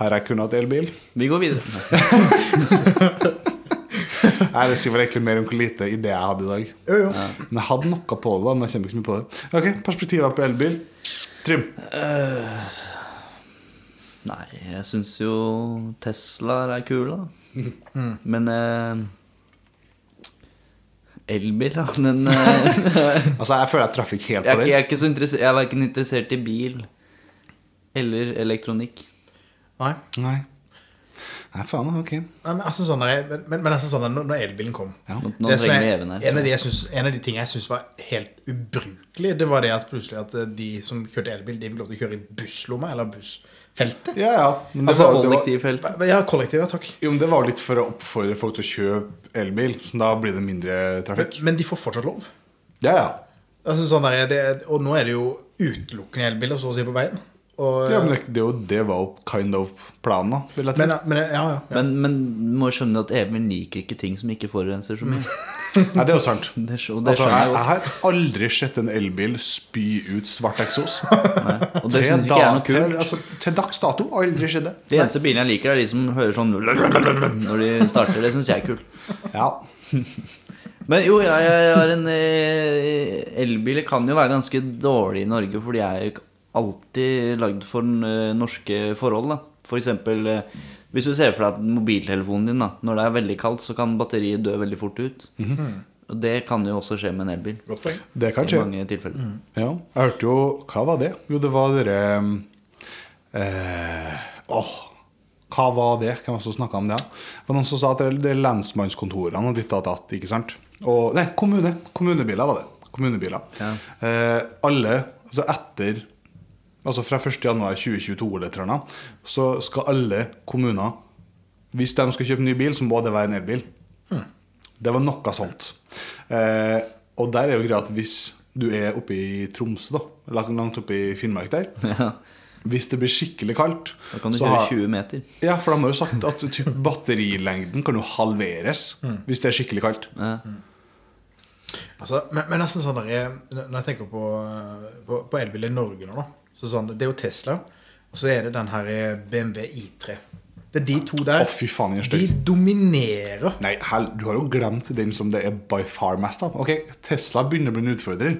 [SPEAKER 3] Her har jeg kunnet hatt elbil.
[SPEAKER 2] Vi går videre.
[SPEAKER 3] Nei, Det sier vel egentlig mer om hvor lite idé jeg hadde i dag.
[SPEAKER 1] Jo, jo.
[SPEAKER 3] Men jeg hadde noe på det. da, men jeg kommer ikke så mye på det. Ok, Perspektiver på elbil. Trym.
[SPEAKER 2] Nei, jeg syns jo Teslaer er kule, da.
[SPEAKER 3] Mm.
[SPEAKER 2] Men eh, Elbil, da. Den eh,
[SPEAKER 3] Altså, Jeg føler jeg traff ikke
[SPEAKER 2] jeg,
[SPEAKER 3] helt
[SPEAKER 2] er
[SPEAKER 3] på
[SPEAKER 2] ikke,
[SPEAKER 3] den.
[SPEAKER 2] jeg er ikke så interessert Jeg er verken interessert i bil eller elektronikk.
[SPEAKER 1] Nei.
[SPEAKER 3] Nei. Nei, faen, ok.
[SPEAKER 1] Nei, men altså sånn der, men, men, men altså sånn der, når- når elbilen kom
[SPEAKER 3] Ja.
[SPEAKER 2] Nå, nå
[SPEAKER 1] det som
[SPEAKER 2] trenger vi
[SPEAKER 1] er-
[SPEAKER 2] Even
[SPEAKER 1] en, av
[SPEAKER 2] her.
[SPEAKER 1] de jeg synes, en av de tingene jeg syntes var helt ubrukelig, det var det at plutselig at eh, de som kjørte elbil, de fikk lov til å kjøre i busslomma eller bussfeltet.
[SPEAKER 3] Ja, ja. Men det
[SPEAKER 2] Altså
[SPEAKER 3] var, det var,
[SPEAKER 2] kollektivfelt.
[SPEAKER 1] Ja, kollektivet, takk.
[SPEAKER 3] jo, men det var jo litt for å oppfordre folk til å kjøpe elbil. Så da blir det mindre
[SPEAKER 1] Men,
[SPEAKER 3] trafikk.
[SPEAKER 1] men de får fortsatt lov.
[SPEAKER 3] Ja, ja.
[SPEAKER 1] Jeg synes sånn der, det, og nå er det jo utelukkende elbiler, så å si, på veien. Og,
[SPEAKER 3] Ja, men det, det, er jo- det var jo kind of planen, da. Vil jeg tro.
[SPEAKER 1] men, men, ja, ja, ja.
[SPEAKER 2] Men, men du må skjønne at Even liker ikke ting som ikke forurenser så
[SPEAKER 1] Mm.
[SPEAKER 2] mye.
[SPEAKER 3] Nei, det er jo sant.
[SPEAKER 2] Det, skj- og det
[SPEAKER 3] Altså, jeg,
[SPEAKER 2] skjønner jeg jo.
[SPEAKER 3] jeg har aldri sett en elbil spy ut svart eksos.
[SPEAKER 2] Nei. Og det syns ikke jeg er noe
[SPEAKER 3] Til,
[SPEAKER 2] kult.
[SPEAKER 3] altså, til dags dato har aldri skjedd det.
[SPEAKER 2] De eneste bilene jeg liker, er de som hører sånn når de starter. Det syns jeg er kult.
[SPEAKER 3] Ja.
[SPEAKER 2] Men jo, jeg, jeg har en eh, elbil kan jo være ganske dårlig i Norge, for de er jo ikke alltid lagd for eh, norske forhold. da. For eksempel, eh, hvis du ser for deg at mobiltelefonen din, da, når det er veldig kaldt, så kan batteriet dø veldig fort ut.
[SPEAKER 3] Mhm.
[SPEAKER 2] Og det kan jo også skje med en elbil.
[SPEAKER 1] Godt poeng.
[SPEAKER 3] Det kan
[SPEAKER 2] I
[SPEAKER 3] skje.
[SPEAKER 2] mange tilfeller.
[SPEAKER 3] Ja. Jeg hørte jo Hva var det? Jo, det var dere eh, Åh, hva var det? Hvem var det som snakka om det? Det var noen som sa at det er lensmannskontorene og ditt og datt, ikke sant? Og, nei, kommune. Kommunebiler var det. Kommunebiler.
[SPEAKER 2] Ja.
[SPEAKER 3] Eh, alle, altså etter Altså fra 1.1.2022 eller et eller annet, så skal alle kommuner Hvis de skal kjøpe ny bil, så må det være en elbil. Det var noe sånt. Eh, og der er jo greia at hvis du er oppe i Tromsø, da, eller langt oppe i Finnmark der
[SPEAKER 2] Ja,
[SPEAKER 3] Hvis det blir skikkelig kaldt
[SPEAKER 2] da kan du
[SPEAKER 3] så
[SPEAKER 2] kjøre
[SPEAKER 3] har-
[SPEAKER 2] 20 meter.
[SPEAKER 3] Ja, for de har jo sagt at typ, batterilengden kan jo halveres
[SPEAKER 2] Mm.
[SPEAKER 3] hvis det er skikkelig kaldt.
[SPEAKER 2] Ja.
[SPEAKER 1] Altså, men, men nesten sånn der, jeg- Når jeg tenker på, på, på elbil i Norge nå, da så sånn, Det er jo Tesla, og så er det den her eh, BMW I3. Det er de to der.
[SPEAKER 3] Å, fy faen, den er
[SPEAKER 1] de
[SPEAKER 3] stygg.
[SPEAKER 1] dominerer.
[SPEAKER 3] Nei, hell, du har jo glemt den som det er by far mest av. Ok, Tesla begynner å bli en utfordrer.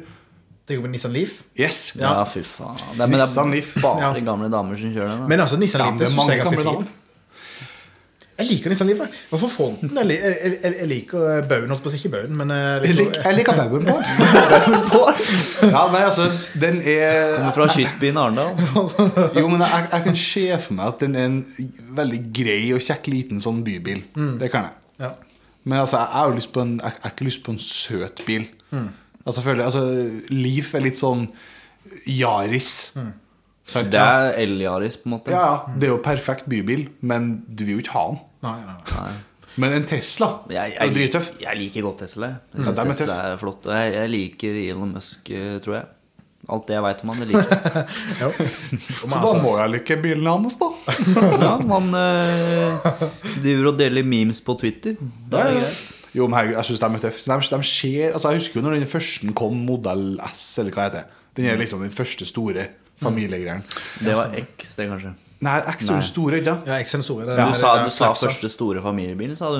[SPEAKER 1] Tenker på Nissan Leaf.
[SPEAKER 3] Yes!
[SPEAKER 1] Ja.
[SPEAKER 2] Ja, fy faen. Det er, men det
[SPEAKER 3] Nissan
[SPEAKER 2] er
[SPEAKER 3] Leaf.
[SPEAKER 2] bare
[SPEAKER 1] Ja.
[SPEAKER 2] gamle damer som kjører den. da.
[SPEAKER 1] Men altså, Nissan
[SPEAKER 3] Ja,
[SPEAKER 1] Leaf
[SPEAKER 3] men
[SPEAKER 1] det
[SPEAKER 3] det er
[SPEAKER 1] synes jeg
[SPEAKER 3] mange
[SPEAKER 1] er ganske
[SPEAKER 3] gamle
[SPEAKER 1] fin.
[SPEAKER 3] damer.
[SPEAKER 1] Jeg liker Nissan Leaf. jeg. Hvorfor fonten? Jeg, li- jeg, jeg, jeg liker eh, baugen, holdt på å si. Ikke baugen, men eh,
[SPEAKER 3] Jeg liker, jeg liker babyen på. ja, nei, altså, den er
[SPEAKER 2] Kommer fra kystbyen Arendal.
[SPEAKER 3] Jo, men jeg, jeg kan se for meg at den er en veldig grei og kjekk liten sånn bybil.
[SPEAKER 2] Mm.
[SPEAKER 3] Det kan jeg.
[SPEAKER 1] Ja.
[SPEAKER 3] Men altså, jeg har jo lyst på en, jeg, jeg har ikke lyst på en søt bil.
[SPEAKER 2] Mm.
[SPEAKER 3] Altså, jeg føler, altså, Leaf er litt sånn Yaris.
[SPEAKER 2] Mm.
[SPEAKER 3] Sant?
[SPEAKER 2] Det er el-Yaris, på en måte.
[SPEAKER 3] ja, ja, det er jo perfekt bybil, men du vil jo ikke ha den.
[SPEAKER 1] Nei, nei, nei.
[SPEAKER 2] Nei.
[SPEAKER 3] Men en Tesla
[SPEAKER 2] Jeg,
[SPEAKER 3] er
[SPEAKER 2] jeg,
[SPEAKER 3] jo drittøff.
[SPEAKER 2] lik- jeg liker godt Tesla. jeg. Jeg
[SPEAKER 3] Ja,
[SPEAKER 2] synes
[SPEAKER 3] dem er
[SPEAKER 2] Tesla er flott. Og jeg, jeg liker Elon Musk, eh, tror jeg. Alt det jeg veit om han, det liker jeg.
[SPEAKER 1] Jo. Men
[SPEAKER 3] Så da
[SPEAKER 1] altså,
[SPEAKER 3] må jeg like bilen hans, da.
[SPEAKER 2] Ja, han eh, driver og deler memes på Twitter. Det er greit.
[SPEAKER 3] Jo, men herregud, jeg syns de er tøffe. Så De, de
[SPEAKER 2] Mm.
[SPEAKER 3] ser, altså, jeg husker jo når den første kom, modell S, eller hva det heter. Den er liksom den første store. familiegreiene.
[SPEAKER 2] Det var X, det, kanskje.
[SPEAKER 3] Nei, X
[SPEAKER 2] Nei.
[SPEAKER 3] er jo store, ikke sant?
[SPEAKER 1] Ja, Exensore.
[SPEAKER 3] Ja.
[SPEAKER 2] Du
[SPEAKER 3] Nei,
[SPEAKER 2] sa, du sa første store familiebil, sa du.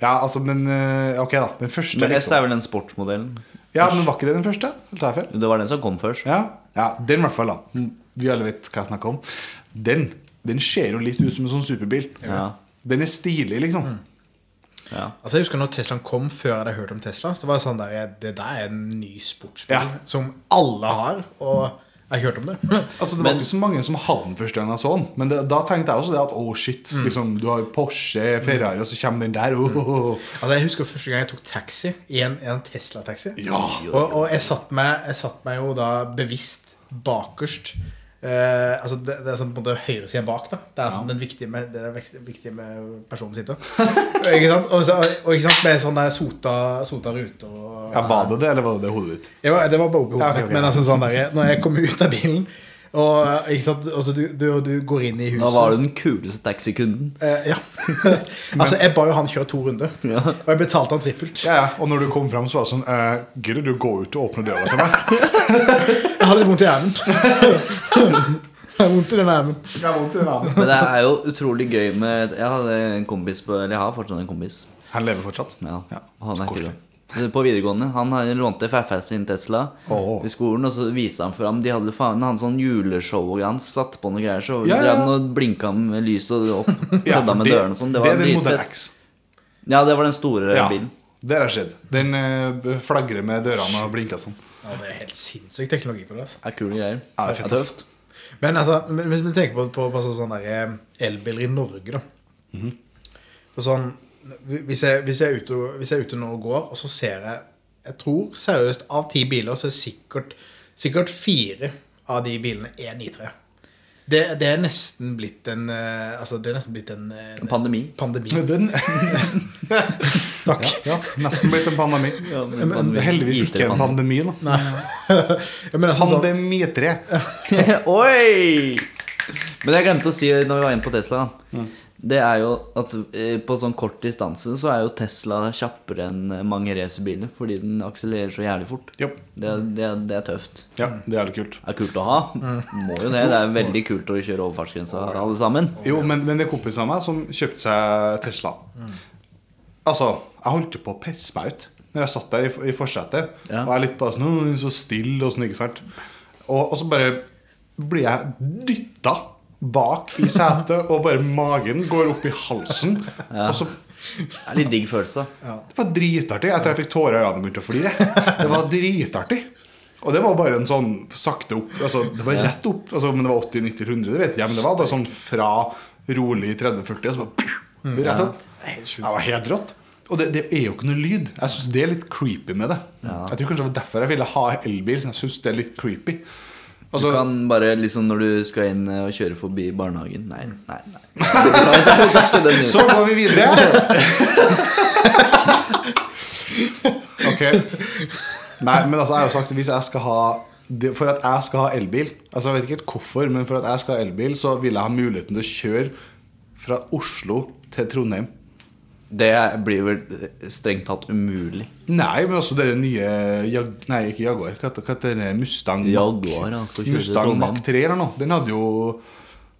[SPEAKER 3] Ja, altså, men eh, Ok, da. Den første.
[SPEAKER 2] Men S
[SPEAKER 3] liksom.
[SPEAKER 2] er vel den sportsmodellen?
[SPEAKER 3] Ja, men Var ikke det den første? Eller tar jeg feil?
[SPEAKER 2] Det var den som kom først.
[SPEAKER 3] Ja, ja den i hvert fall, da. Vi alle vet hva jeg snakker om. Den den ser jo litt ut som en sånn superbil.
[SPEAKER 2] Ja.
[SPEAKER 3] Den er stilig, liksom.
[SPEAKER 2] Ja.
[SPEAKER 1] Altså Jeg husker når Teslaen kom, før jeg hadde hørt om Tesla. Så var det sånn der, Det der er en ny sportsbil
[SPEAKER 3] Ja.
[SPEAKER 1] som alle har, og jeg har ikke hørt om det.
[SPEAKER 3] Altså, Det var
[SPEAKER 2] Men-
[SPEAKER 3] ikke så mange som hadde den første gang jeg så den. Men det, da tenkte jeg også det at oh shit, liksom, du har Porsche, Ferrari, og så kommer den der. Oh, oh, oh.
[SPEAKER 1] Altså Jeg husker første gang jeg tok taxi, i en, i en Tesla-taxi.
[SPEAKER 3] Ja!
[SPEAKER 1] Og, og jeg, satt meg, jeg satt meg jo da bevisst bakerst. Eh, altså det, det er sånn på en måte høyresiden bak. da Det er sånn den viktige med, det er vekst- viktige med personen sitter. ikke sant? Og, så, og ikke sant? med sånn der sota, sota ruter og
[SPEAKER 3] Ja, Var det det, eller var det det hodet ditt?
[SPEAKER 1] jeg var, det var bare oppi hodet
[SPEAKER 3] Ja, ok,
[SPEAKER 1] mitt,
[SPEAKER 3] ok.
[SPEAKER 1] Men altså, sånn der, når jeg kom ut av bilen Og ikke sant, altså, du, du, du går inn i huset
[SPEAKER 2] Da var du den kuleste taxikunden.
[SPEAKER 1] Eh, ja. altså, jeg ba jo han kjøre to runder.
[SPEAKER 2] Ja.
[SPEAKER 1] Og jeg betalte han trippelt.
[SPEAKER 3] Ja, ja. Og når du kom fram, så var det sånn eh, Gidder du gå ut og åpne døra til meg?
[SPEAKER 1] Jeg har litt vondt i hjernen. jeg har vondt i den hjernen.
[SPEAKER 3] Jeg har vondt i den.
[SPEAKER 2] Men det er jo utrolig gøy med Jeg hadde en kompis på Eller jeg har fortsatt en kompis.
[SPEAKER 3] Han lever fortsatt.
[SPEAKER 2] Ja,
[SPEAKER 3] Ja,
[SPEAKER 2] han
[SPEAKER 3] så
[SPEAKER 2] er ikke
[SPEAKER 3] koselig.
[SPEAKER 2] det. På videregående. Han har- lånte farfar sin Tesla
[SPEAKER 3] Åh.
[SPEAKER 2] i skolen, og så viste han fram De hadde faen han sånn juleshow og han satt på noe greier, så
[SPEAKER 3] Ja, ja,
[SPEAKER 2] ja,
[SPEAKER 3] ja.
[SPEAKER 2] og blinka med lys og opp.
[SPEAKER 3] Ja,
[SPEAKER 2] kødda
[SPEAKER 3] for
[SPEAKER 2] med
[SPEAKER 3] det-
[SPEAKER 2] dørene og sånn. Det
[SPEAKER 3] det
[SPEAKER 2] var
[SPEAKER 3] er den Model
[SPEAKER 2] dritfett.
[SPEAKER 3] X.
[SPEAKER 2] Ja, det var den store
[SPEAKER 3] Ja,
[SPEAKER 2] bilen.
[SPEAKER 3] det har skjedd. Den eh, flagrer med dørene og blinker sånn.
[SPEAKER 1] Ja, det er helt sinnssyk teknologi på det. altså.
[SPEAKER 2] Det er kule greier.
[SPEAKER 3] Ja, det er fett, ass.
[SPEAKER 2] tøft.
[SPEAKER 1] Men altså, men- hvis vi tenker på, på, på sånn- sånn der, eh, elbiler i Norge, da Mhm. For sånn, hvis jeg, hvis, jeg er ute, og- hvis jeg er ute nå og går, og så ser jeg Jeg tror seriøst av ti biler, så er sikkert, sikkert fire av de bilene er 93. Det, det er nesten blitt en eh, Altså, det er nesten blitt en, eh,
[SPEAKER 2] En pandemi.
[SPEAKER 1] pandemi.
[SPEAKER 3] Den,
[SPEAKER 1] Takk.
[SPEAKER 3] ja, nesten blitt en pandemi.
[SPEAKER 2] Ja, men
[SPEAKER 3] Men
[SPEAKER 2] pandemi-
[SPEAKER 3] heldigvis ikke en
[SPEAKER 2] IT-pandemi.
[SPEAKER 3] pandemi, da.
[SPEAKER 1] Nei. Jeg mener, altså, sånn,
[SPEAKER 3] Pandemitre.
[SPEAKER 2] Oi! Men jeg glemte å si når vi var inne på Tesla,
[SPEAKER 3] Mm.
[SPEAKER 2] da. Det er jo at eh, på sånn kort distanse så er jo Tesla kjappere enn mange racerbiler fordi den akselererer så jævlig fort.
[SPEAKER 3] Jo.
[SPEAKER 2] Det, det, det er tøft.
[SPEAKER 3] Ja, det er litt kult.
[SPEAKER 2] Det er kult å ha. Må jo det. Det er veldig kult å kjøre over fartsgrensa, alle sammen.
[SPEAKER 3] Jo, men, men det er kompisen av meg som kjøpte seg Tesla. Altså, jeg holdt jo på å pisse meg ut når jeg satt der i, i forsetet.
[SPEAKER 2] Ja.
[SPEAKER 3] Og jeg er litt bare sånn «Åh, hun er Så stille og sånn, ikke sant. Og, og så bare blir jeg dytta bak i setet, og bare magen går opp i halsen. Og så
[SPEAKER 2] Det er litt digg følelse. da.
[SPEAKER 3] Det var dritartig. Jeg tror jeg fikk tårer i øynene og begynte å flire. Det var dritartig. Og det var bare en sånn sakte opp altså, Det var rett opp, altså, men det var 80-90-100, det vet jeg. Men det var bare sånn fra rolig 30-40, og så
[SPEAKER 2] Mm.
[SPEAKER 3] bare rett opp. Det var helt rått. Og det, det er jo ikke noe lyd. Jeg syns det er litt creepy med det. Jeg tror kanskje det var derfor jeg ville ha elbil. siden Jeg synes det er litt creepy.
[SPEAKER 2] Du
[SPEAKER 3] Altså,
[SPEAKER 2] kan bare liksom når du skal inn eh, og kjøre forbi barnehagen Nei, nei, nei. Vi tar- vi tar- vi tar den ut.
[SPEAKER 3] så går vi videre. Ok. Nei, men altså, jeg har jo sagt hvis jeg skal ha det- For at jeg skal ha elbil Altså Jeg vet ikke helt hvorfor, men for at jeg skal ha elbil, så vil jeg ha muligheten til å kjøre fra Oslo til Trondheim.
[SPEAKER 2] Det blir vel strengt tatt umulig.
[SPEAKER 3] Nei, men også dere nye jag, Nei, ikke Jaguar. Hva heter- hva heter det? Mustang
[SPEAKER 2] Jaguar, ja, til å kjøre til
[SPEAKER 3] Mustang
[SPEAKER 2] Trondheim.
[SPEAKER 3] Mach 3 eller noe. Den hadde jo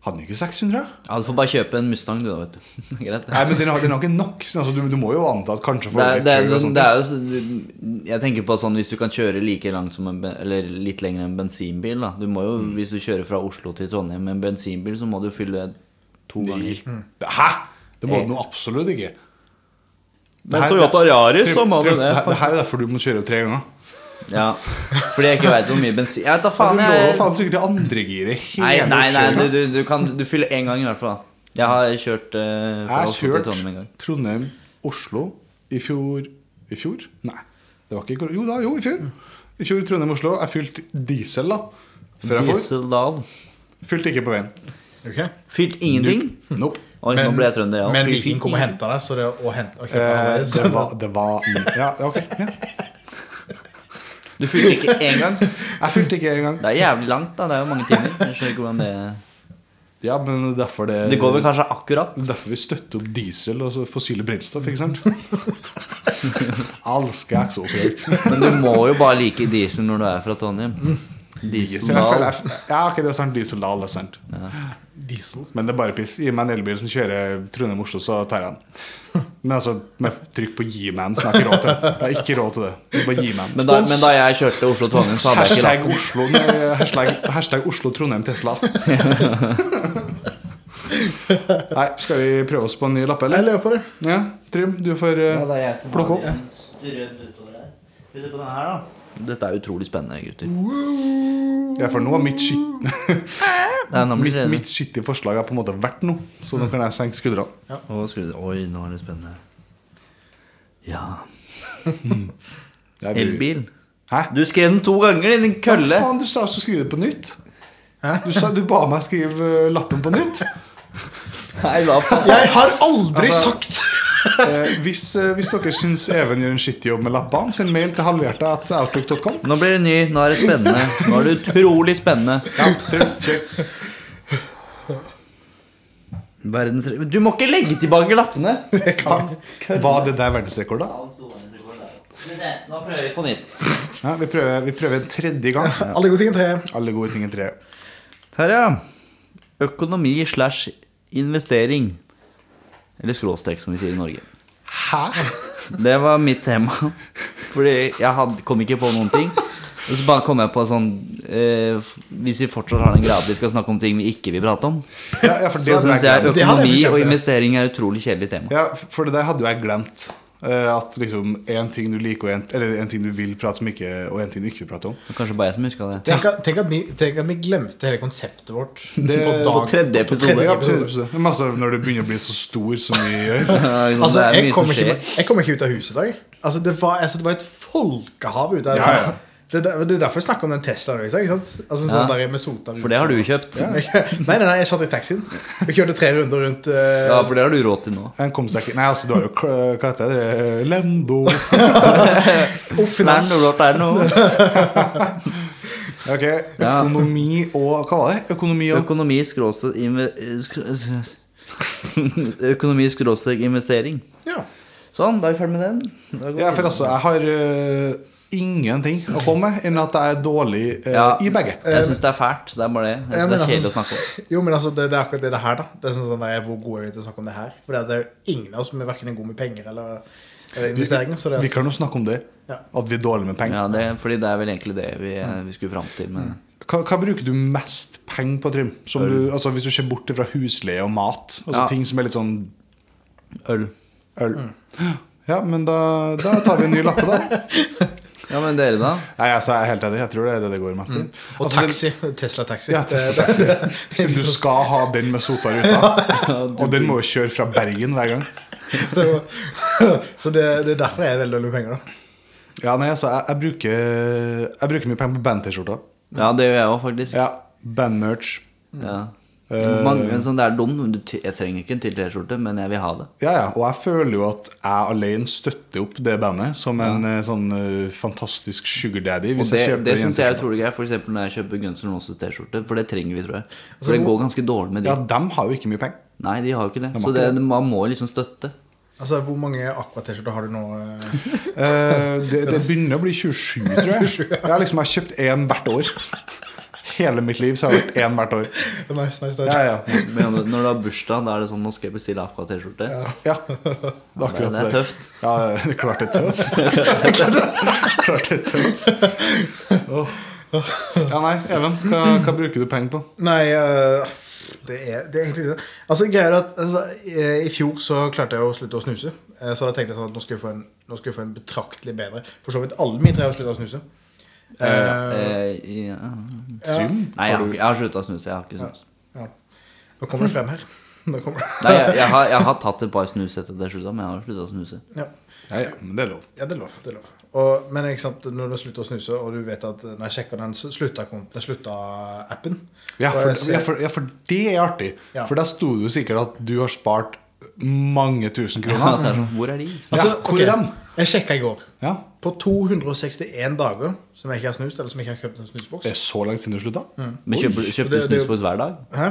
[SPEAKER 3] Hadde den ikke 600?
[SPEAKER 2] Ja, Du får bare kjøpe en Mustang, du, da, vet du. Greit.
[SPEAKER 3] Nei, men den har, den har ikke nok. så Altså, du, du må jo anta at kanskje
[SPEAKER 2] Det er, det, er
[SPEAKER 3] litt prøver og
[SPEAKER 2] sånn,
[SPEAKER 3] sånt.
[SPEAKER 2] det er jo sånn- Jeg tenker på sånn hvis du kan kjøre like langt som en, ben- Eller litt lenger enn en bensinbil, da. Du må jo,
[SPEAKER 3] Mm.
[SPEAKER 2] hvis du kjører fra Oslo til Trondheim med en bensinbil, så må du fylle to ganger. Eh.
[SPEAKER 3] Nei. Hæ? Det må du nå absolutt ikke.
[SPEAKER 2] Men Toyota Yaris,
[SPEAKER 3] Trym-
[SPEAKER 2] så må du
[SPEAKER 3] Trym,
[SPEAKER 2] det.
[SPEAKER 3] her- her er derfor du må kjøre tre ganger.
[SPEAKER 2] Ja. Fordi jeg ikke veit hvor mye bensin Jeg vet da
[SPEAKER 3] Du
[SPEAKER 2] faen,
[SPEAKER 3] lå jo
[SPEAKER 2] jeg
[SPEAKER 3] faen sikkert i andregiret hele
[SPEAKER 2] Nei, nei, nei du,
[SPEAKER 3] oppkjøringen.
[SPEAKER 2] du, du, kan, du fyller én gang i hvert fall. Jeg har kjørt eh,
[SPEAKER 3] Jeg
[SPEAKER 2] fra
[SPEAKER 3] har
[SPEAKER 2] Oslo til
[SPEAKER 3] kjørt
[SPEAKER 2] Trondheim en gang.
[SPEAKER 3] Trondheim-Oslo i fjor I fjor? Nei. Det var ikke i kor- Jo da, jo, i fjor. I fjor Trondheim-Oslo. Jeg fylte diesel, da. Før jeg for.
[SPEAKER 2] Dieseldal.
[SPEAKER 3] Fylte ikke på veien.
[SPEAKER 1] sånn, ok.
[SPEAKER 2] Fylt ingenting.
[SPEAKER 3] Nope.
[SPEAKER 2] Oi, nå ble jeg trønder, jeg også.
[SPEAKER 1] men
[SPEAKER 2] Fylt
[SPEAKER 1] Viking kom og
[SPEAKER 2] ingenting.
[SPEAKER 1] henta deg, så det å hente å kjøpe
[SPEAKER 3] Eh,
[SPEAKER 1] annerledes.
[SPEAKER 3] det var, det var Ja, ok. Ja.
[SPEAKER 2] Du fylte ikke én gang.
[SPEAKER 3] Jeg fylte ikke engang.
[SPEAKER 2] Det er jævlig langt, da. Det er jo mange timer. Jeg skjønner ikke hvordan Det
[SPEAKER 3] Ja, men derfor det
[SPEAKER 2] Det går vel kanskje akkurat.
[SPEAKER 3] Derfor vi støtter opp diesel og så fossile brennstoff, ikke sant? Elsker eksosrøyk.
[SPEAKER 2] Men du må jo bare like diesel når du er fra Trondheim.
[SPEAKER 3] Så jeg
[SPEAKER 2] Dieseldal.
[SPEAKER 3] føler jeg, ja, ok, det er sant. Dieseldal, det er sant.
[SPEAKER 1] Diesel.
[SPEAKER 3] Men det er bare piss. Gi meg en elbil som kjører Trondheim-Oslo, så tar jeg den. Men altså, med trykk på G-man, så har jeg ikke råd til det. Jeg har ikke råd til det. det er bare G-man.
[SPEAKER 2] Men da, men da jeg kjørte Oslo-Trondheim, så hadde jeg ikke
[SPEAKER 3] Hashtag
[SPEAKER 2] lappen.
[SPEAKER 3] Oslo, nei, hashtag, hashtag Oslo Trondheim Tesla. Nei, skal vi prøve oss på en ny lapp,
[SPEAKER 1] Jeg
[SPEAKER 3] eller?
[SPEAKER 1] lever på det.
[SPEAKER 3] Ja, Trym, du får eh,
[SPEAKER 2] Ja, det er jeg som
[SPEAKER 3] Plukk
[SPEAKER 2] har
[SPEAKER 3] opp.
[SPEAKER 2] en strødd utover her. Skal vi se på denne her, da? Dette er utrolig spennende, gutter.
[SPEAKER 3] Ja, for nå har mitt, skitt,
[SPEAKER 2] Det er nemlig
[SPEAKER 3] mitt, mitt skittige forslag har på en måte vært noe, så nå kan jeg senke skuldrene.
[SPEAKER 2] Å, skal vi- Oi, nå er det spennende. Ja
[SPEAKER 3] Jeg blir-
[SPEAKER 2] Elbil.
[SPEAKER 3] Hæ?
[SPEAKER 2] Du skrev den to ganger, din
[SPEAKER 3] Hva
[SPEAKER 2] kølle!
[SPEAKER 3] faen, du sa jeg skulle skrive det på nytt. Du, sa, du ba meg skrive eh, lappen på nytt.
[SPEAKER 2] Nei, hva faen?
[SPEAKER 1] Jeg har aldri
[SPEAKER 3] Altså-
[SPEAKER 1] sagt
[SPEAKER 3] Eh, hvis, eh, hvis dere syns Even gjør en skittig jobb med lappene, send mail til halvhjerta at outlook.com.
[SPEAKER 2] Nå blir det ny. Nå er det spennende. Nå er det utrolig spennende.
[SPEAKER 3] Ja, Trym, kjør.
[SPEAKER 2] Verdens... Du må ikke legge tilbake lappene!
[SPEAKER 1] Jeg kan ikke.
[SPEAKER 3] Var det der verdensrekord, da?
[SPEAKER 2] Nå prøver vi på nytt.
[SPEAKER 3] Ja, vi, prøver, vi prøver en tredje gang.
[SPEAKER 1] Alle gode ting er tre.
[SPEAKER 3] Alle gode ting er tre.
[SPEAKER 2] Terje. Økonomi slash investering. Eller skråstrek, som vi sier i Norge.
[SPEAKER 3] Hæ?
[SPEAKER 2] Det var mitt tema. Fordi jeg hadde, kom ikke på noen ting. Og så bare kom jeg på sånn eh, f- Hvis vi fortsatt har den greia at vi skal snakke om ting vi ikke vil prate om,
[SPEAKER 3] Ja, ja, for det,
[SPEAKER 2] så syns jeg
[SPEAKER 1] Det hadde jeg
[SPEAKER 2] økonomi
[SPEAKER 1] fortjent,
[SPEAKER 2] og
[SPEAKER 1] ja.
[SPEAKER 2] investering er et utrolig kjedelig tema.
[SPEAKER 3] ja, for det der hadde jo jeg glemt. Eh, At liksom én ting du liker, og en, eller en ting du vil prate om, ikke, og en ting du ikke vil prate om.
[SPEAKER 2] Det var kanskje bare jeg som huska det.
[SPEAKER 1] Tenk, at- tenk, at vi, tenk at vi glemte hele konseptet vårt.
[SPEAKER 3] Det-
[SPEAKER 1] på
[SPEAKER 2] På
[SPEAKER 1] dag-
[SPEAKER 2] tredje
[SPEAKER 1] tredje
[SPEAKER 2] episode.
[SPEAKER 3] Ja,
[SPEAKER 2] Ja,
[SPEAKER 1] episode.
[SPEAKER 3] absolutt. Men altså, når du begynner å bli så stor som vi gjør
[SPEAKER 2] ikke sant,
[SPEAKER 1] Altså,
[SPEAKER 2] det er
[SPEAKER 1] jeg
[SPEAKER 2] mye som
[SPEAKER 1] kommer ikke,
[SPEAKER 2] skjer.
[SPEAKER 1] jeg kom ikke ut av huset i dag. Altså, det, var, altså, det var et folkehav ute her.
[SPEAKER 3] Ja, ja.
[SPEAKER 1] Det, det, det er derfor jeg snakker om den Teslaen. Ikke sant? Altså, sånn
[SPEAKER 2] Ja.
[SPEAKER 1] der med sota
[SPEAKER 2] For det har du jo kjøpt.
[SPEAKER 1] nei, nei, nei, jeg satt i taxien og kjørte tre runder rundt eh,
[SPEAKER 2] Ja, for det har du råd til nå.
[SPEAKER 3] Han kom seg ikke Nei, altså, du har jo kl- Hva heter det? Lembo.
[SPEAKER 1] og finans.
[SPEAKER 2] Nei, men det er noe rart der nå.
[SPEAKER 3] Ok,
[SPEAKER 2] Ja.
[SPEAKER 3] Økonomi og Hva var det? Økonomi og
[SPEAKER 2] Økonomi skråstrek inve- skr- Økonomi skråstrek investering.
[SPEAKER 1] Ja.
[SPEAKER 2] Sånn, da er vi ferdig med den. Da går vi
[SPEAKER 3] Ja, for
[SPEAKER 2] videre.
[SPEAKER 3] altså, jeg har øh, ingenting å komme med enn at jeg er dårlig øh,
[SPEAKER 2] Ja.
[SPEAKER 3] i begge.
[SPEAKER 2] Jeg syns det er fælt. Det er bare det. Jeg
[SPEAKER 1] Ja, men
[SPEAKER 2] synes det er kjedelig å
[SPEAKER 1] altså-
[SPEAKER 2] snakke om.
[SPEAKER 1] Jo, men altså, det, det er akkurat det det her, da. Det er sånn, sånn der, Hvor gode er vi til å snakke om det her? For det er jo ingen av oss som er verken gode med penger eller, eller investeringer. Så det,
[SPEAKER 3] Vi kan jo snakke om det,
[SPEAKER 1] Ja.
[SPEAKER 3] at vi er dårlige med penger.
[SPEAKER 2] Ja, det, fordi det er vel egentlig det vi, eh, vi skulle fram til. Men
[SPEAKER 3] Hva, hva bruker du mest penger på, Trym? Som du, altså, hvis du ser bort fra husleie og mat, altså
[SPEAKER 2] Ja.
[SPEAKER 3] ting som er litt sånn
[SPEAKER 2] øl.
[SPEAKER 3] øl.
[SPEAKER 1] Mm.
[SPEAKER 3] Ja, men da, da tar vi en ny lappe, da.
[SPEAKER 2] Ja, men dere, da?
[SPEAKER 3] Nei, altså, jeg er helt enig. Jeg tror det er det det går mest i.
[SPEAKER 1] Mm. og
[SPEAKER 3] Altså, det-
[SPEAKER 1] taxi. Tesla-taxi.
[SPEAKER 3] Ja, Tesla-taxi. Siden du skal ha den med sota ruta, og den må jo kjøre fra Bergen hver gang.
[SPEAKER 1] Så, så det, det er derfor jeg er veldig dårlig med penger, da.
[SPEAKER 3] Ja, nei, altså, jeg, jeg, bruker, jeg bruker mye penger på band-T-skjorta.
[SPEAKER 2] Ja, det gjør jeg òg, faktisk.
[SPEAKER 3] Ja, Eh, Bandmerch.
[SPEAKER 2] Ja. Mange, men sånn, det er dum. men du- Jeg trenger ikke en til T-skjorte, men jeg vil ha det.
[SPEAKER 3] Ja, ja. Og jeg føler jo at jeg alene støtter opp det bandet som en eh, sånn eh, fantastisk sugar daddy.
[SPEAKER 2] Og
[SPEAKER 3] Hvis
[SPEAKER 2] det,
[SPEAKER 3] jeg kjøper
[SPEAKER 2] det
[SPEAKER 3] den
[SPEAKER 2] syns jeg er
[SPEAKER 3] jenteskjorta.
[SPEAKER 2] utrolig greit, f.eks. når jeg kjøper Guns N' Roses T-skjorte. For det trenger vi, tror jeg. For det går ganske dårlig med de.
[SPEAKER 3] Altså, Ja, dem har jo ikke mye penger.
[SPEAKER 2] Nei, de har jo ikke det.
[SPEAKER 3] De har
[SPEAKER 2] Så det,
[SPEAKER 3] ikke det.
[SPEAKER 2] man må liksom støtte.
[SPEAKER 1] Altså, Hvor mange Aqua-T-skjorter har du nå? eh?
[SPEAKER 3] Eh, det, det begynner å bli 27, tror jeg. Jeg har liksom jeg har kjøpt én hvert år. Hele mitt liv så har jeg vært én hvert år.
[SPEAKER 1] Nice, nice, nice.
[SPEAKER 3] Ja, ja.
[SPEAKER 2] Men når du har bursdag, da er det sånn Nå skal jeg bestille Aqua-T-skjorte.
[SPEAKER 3] ja. Det er
[SPEAKER 2] det, det
[SPEAKER 3] akkurat
[SPEAKER 2] er
[SPEAKER 3] det.
[SPEAKER 2] tøft.
[SPEAKER 3] Ja, det er klart det er tøft. klart det er tøft. Åh. Ja, nei, Even, hva, hva bruker du penger på?
[SPEAKER 1] Nei, eh, det er, det er egentlig det. Altså, greia er at altså, eh, I fjor så klarte jeg å slutte å snuse. Eh, Så da tenkte jeg sånn at nå skal jeg få en, nå skal jeg få en betraktelig bedre For så vidt alle mine tre har slutta å snuse. Eh,
[SPEAKER 2] Eh, ja.
[SPEAKER 3] Trym?
[SPEAKER 2] Nei, jeg har, ikke- jeg har slutta å snuse. Jeg har ikke snus.
[SPEAKER 1] ja. Nå kommer det frem her. Nå kommer det.
[SPEAKER 2] Nei, jeg, jeg, har, jeg har tatt et par snus etter at jeg slutta, men jeg har slutta å snuse.
[SPEAKER 1] Ja.
[SPEAKER 3] Ja, ja, men det er lov.
[SPEAKER 1] Ja, det er lov. det er lov. Og, men ikke sant, når du slutter å snuse, og du vet at når jeg sjekker den slutta-appen slutta appen,
[SPEAKER 3] Ja
[SPEAKER 1] og jeg
[SPEAKER 3] for,
[SPEAKER 1] ser-
[SPEAKER 3] ja, for, ja, for det er artig.
[SPEAKER 1] Ja.
[SPEAKER 3] For der sto det jo sikkert at du har spart mange tusen
[SPEAKER 2] Ja,
[SPEAKER 3] kroner.
[SPEAKER 2] så er det sånn, Hvor er de?
[SPEAKER 1] altså,
[SPEAKER 3] Ja, hvor
[SPEAKER 1] ok,
[SPEAKER 3] er dem?
[SPEAKER 1] Jeg sjekka i går.
[SPEAKER 3] Ja.
[SPEAKER 1] På 261 dager som jeg ikke har snust, eller som jeg ikke har kjøpt en snusboks.
[SPEAKER 3] Det er så lenge siden du slutta?
[SPEAKER 2] Men kjøper,
[SPEAKER 1] Oi,
[SPEAKER 2] kjøper
[SPEAKER 1] det-
[SPEAKER 2] du
[SPEAKER 1] det er jo-
[SPEAKER 2] snus på oss hver dag?
[SPEAKER 1] Hæ?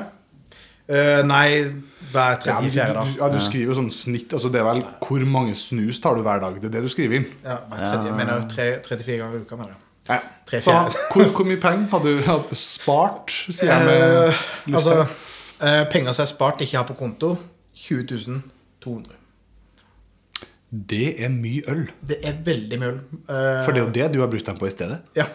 [SPEAKER 1] Eh, nei, hver
[SPEAKER 3] Ja, men du,
[SPEAKER 1] tredje-fjerde dag.
[SPEAKER 3] du, ja, du skriver jo sånn snitt. Altså det er vel hvor mange snus tar du hver dag? Det er det du skriver inn.
[SPEAKER 1] Ja, hver tredje, jeg mener tre- 34 ganger i uka. Mener jeg.
[SPEAKER 3] Ja.
[SPEAKER 1] Tre
[SPEAKER 3] Så
[SPEAKER 1] fjerde.
[SPEAKER 3] hvor, hvor mye penger hadde du hadde spart, sier jeg med
[SPEAKER 1] Eh,
[SPEAKER 3] lufta?
[SPEAKER 1] altså, eh, penger som er spart, ikke har på konto 20 200.
[SPEAKER 3] Det er mye øl.
[SPEAKER 1] Det er veldig mye øl. Eh,
[SPEAKER 3] For det er jo det du har brukt dem på i stedet.
[SPEAKER 1] ja.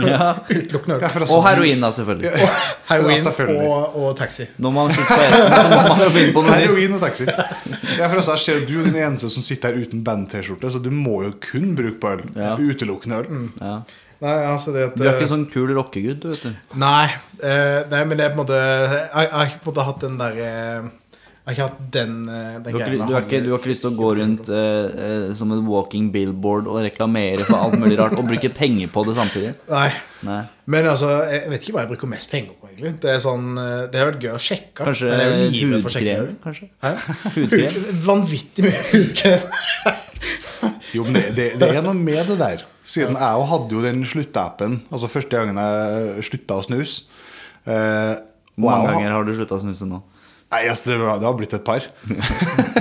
[SPEAKER 2] Ja.
[SPEAKER 1] Utelukkende øl.
[SPEAKER 2] Og heroin, da, selvfølgelig.
[SPEAKER 1] Og
[SPEAKER 3] Ja,
[SPEAKER 1] heroin
[SPEAKER 3] selvfølgelig.
[SPEAKER 1] og, og taxi.
[SPEAKER 2] Når man slutter på etten, så må man jo begynne på noe nytt.
[SPEAKER 3] Heroin og taxi. Jeg er forresten, jeg ser jo du er den eneste som sitter her uten band-T-skjorte, så du må jo kun bruke på øl.
[SPEAKER 2] Ja. Mm.
[SPEAKER 3] Utelukkende øl.
[SPEAKER 2] Ja.
[SPEAKER 1] Nei, altså det at
[SPEAKER 2] Du er ikke sånn kul rockegutt, du, vet du.
[SPEAKER 1] Nei, eh, nei, men det er på en måte Jeg, jeg har ikke på en måte hatt den der eh, Jeg har ikke hatt den, eh,
[SPEAKER 2] Du
[SPEAKER 1] den
[SPEAKER 2] har,
[SPEAKER 1] greia
[SPEAKER 2] ikke,
[SPEAKER 1] med
[SPEAKER 2] du, har ikke, du har ikke lyst til å gå rundt eh, eh, som en walking billboard og reklamere for alt mulig rart og bruke penger på det samtidig?
[SPEAKER 1] Nei.
[SPEAKER 2] Nei.
[SPEAKER 1] Men altså, jeg vet ikke hva jeg bruker mest penger på, egentlig. Det er sånn, eh, det har vært gøy å sjekke.
[SPEAKER 2] Kanskje
[SPEAKER 1] men jeg er jo livredd for å sjekke
[SPEAKER 2] hudkrem?
[SPEAKER 1] det.
[SPEAKER 2] Kanskje?
[SPEAKER 1] Hæ?
[SPEAKER 2] Hudkrem?
[SPEAKER 1] Hud- Vanvittig mye hudkrem.
[SPEAKER 3] Jo, men det, det, det er noe med det der. Siden jeg jo hadde jo den sluttappen, altså første gangen jeg slutta å snuse. Eh, og
[SPEAKER 2] Hvor mange
[SPEAKER 3] jeg
[SPEAKER 2] ganger har du slutta å snuse nå?
[SPEAKER 3] Nei, altså, det, var, det har blitt et par. Nei,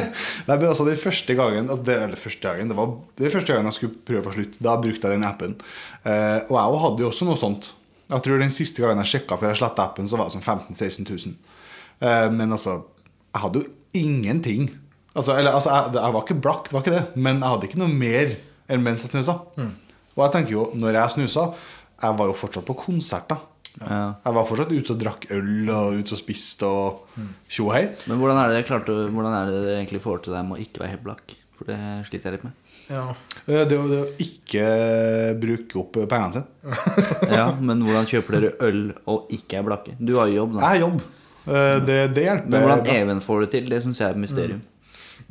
[SPEAKER 3] men altså, den første gangen altså, det, Eller første gangen, det var den første gangen jeg skulle prøve på slutt. Da brukte jeg den appen. Eh, og jeg hadde jo også noe sånt. Jeg tror den siste gangen jeg sjekka før jeg sletta appen, så var det sånn 15 000-16 000. Eh, men altså, jeg hadde jo ingenting. Altså, eller, altså jeg, jeg var ikke blakk, det var ikke det. Men jeg hadde ikke noe mer enn mens jeg snusa. Og jeg tenker jo, når jeg snusa Jeg var jo fortsatt på konserter.
[SPEAKER 2] Ja.
[SPEAKER 3] Jeg var fortsatt ute og drakk øl og ute og spiste og tjo og hei.
[SPEAKER 2] Men hvordan er det dere klarte, hvordan er det dere egentlig får til deg med å ikke være helt blakk? For det sliter jeg litt med.
[SPEAKER 1] Ja.
[SPEAKER 3] Eh, Det å det å ikke bruke opp eh, pengene sine.
[SPEAKER 2] Ja, Men hvordan kjøper dere øl og ikke er blakke? Du har jo jobb,
[SPEAKER 3] Jeg
[SPEAKER 2] da.
[SPEAKER 3] har jobb. Eh, Det, det
[SPEAKER 2] Men
[SPEAKER 3] hjelper.
[SPEAKER 2] hvordan Even får det til, det syns jeg er et mysterium.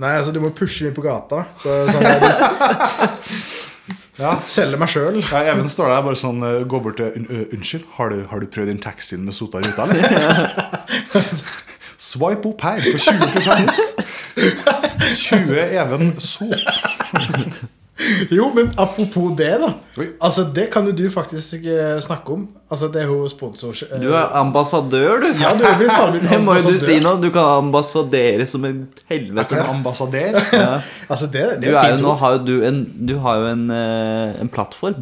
[SPEAKER 1] Nei, altså, du må pushe meg på gata. Det er Sånn,
[SPEAKER 3] Ja.
[SPEAKER 1] selge meg sjøl.
[SPEAKER 3] Ja, Even står der bare sånn eh, går bort til «Un- ø, Unnskyld, har du, har du prøvd den taxien med sota ruta, eller? Swipe opp her på 20 20 Even Sot.
[SPEAKER 1] Jo, men apropos det, da.
[SPEAKER 3] Oi.
[SPEAKER 1] Altså, Det kan jo du faktisk eh, snakke om. Altså, Det er hun sponsor... eh,
[SPEAKER 2] Du er ambassadør, du!
[SPEAKER 1] Ja, du er blitt farlig.
[SPEAKER 2] Det må jo du si nå. Du kan ambassadere som en helvete.
[SPEAKER 3] En ambassadør.
[SPEAKER 1] Altså, det, det
[SPEAKER 2] Du er jo,
[SPEAKER 1] fint
[SPEAKER 2] nå
[SPEAKER 1] ord.
[SPEAKER 2] har jo du en, du har jo en, eh, en plattform.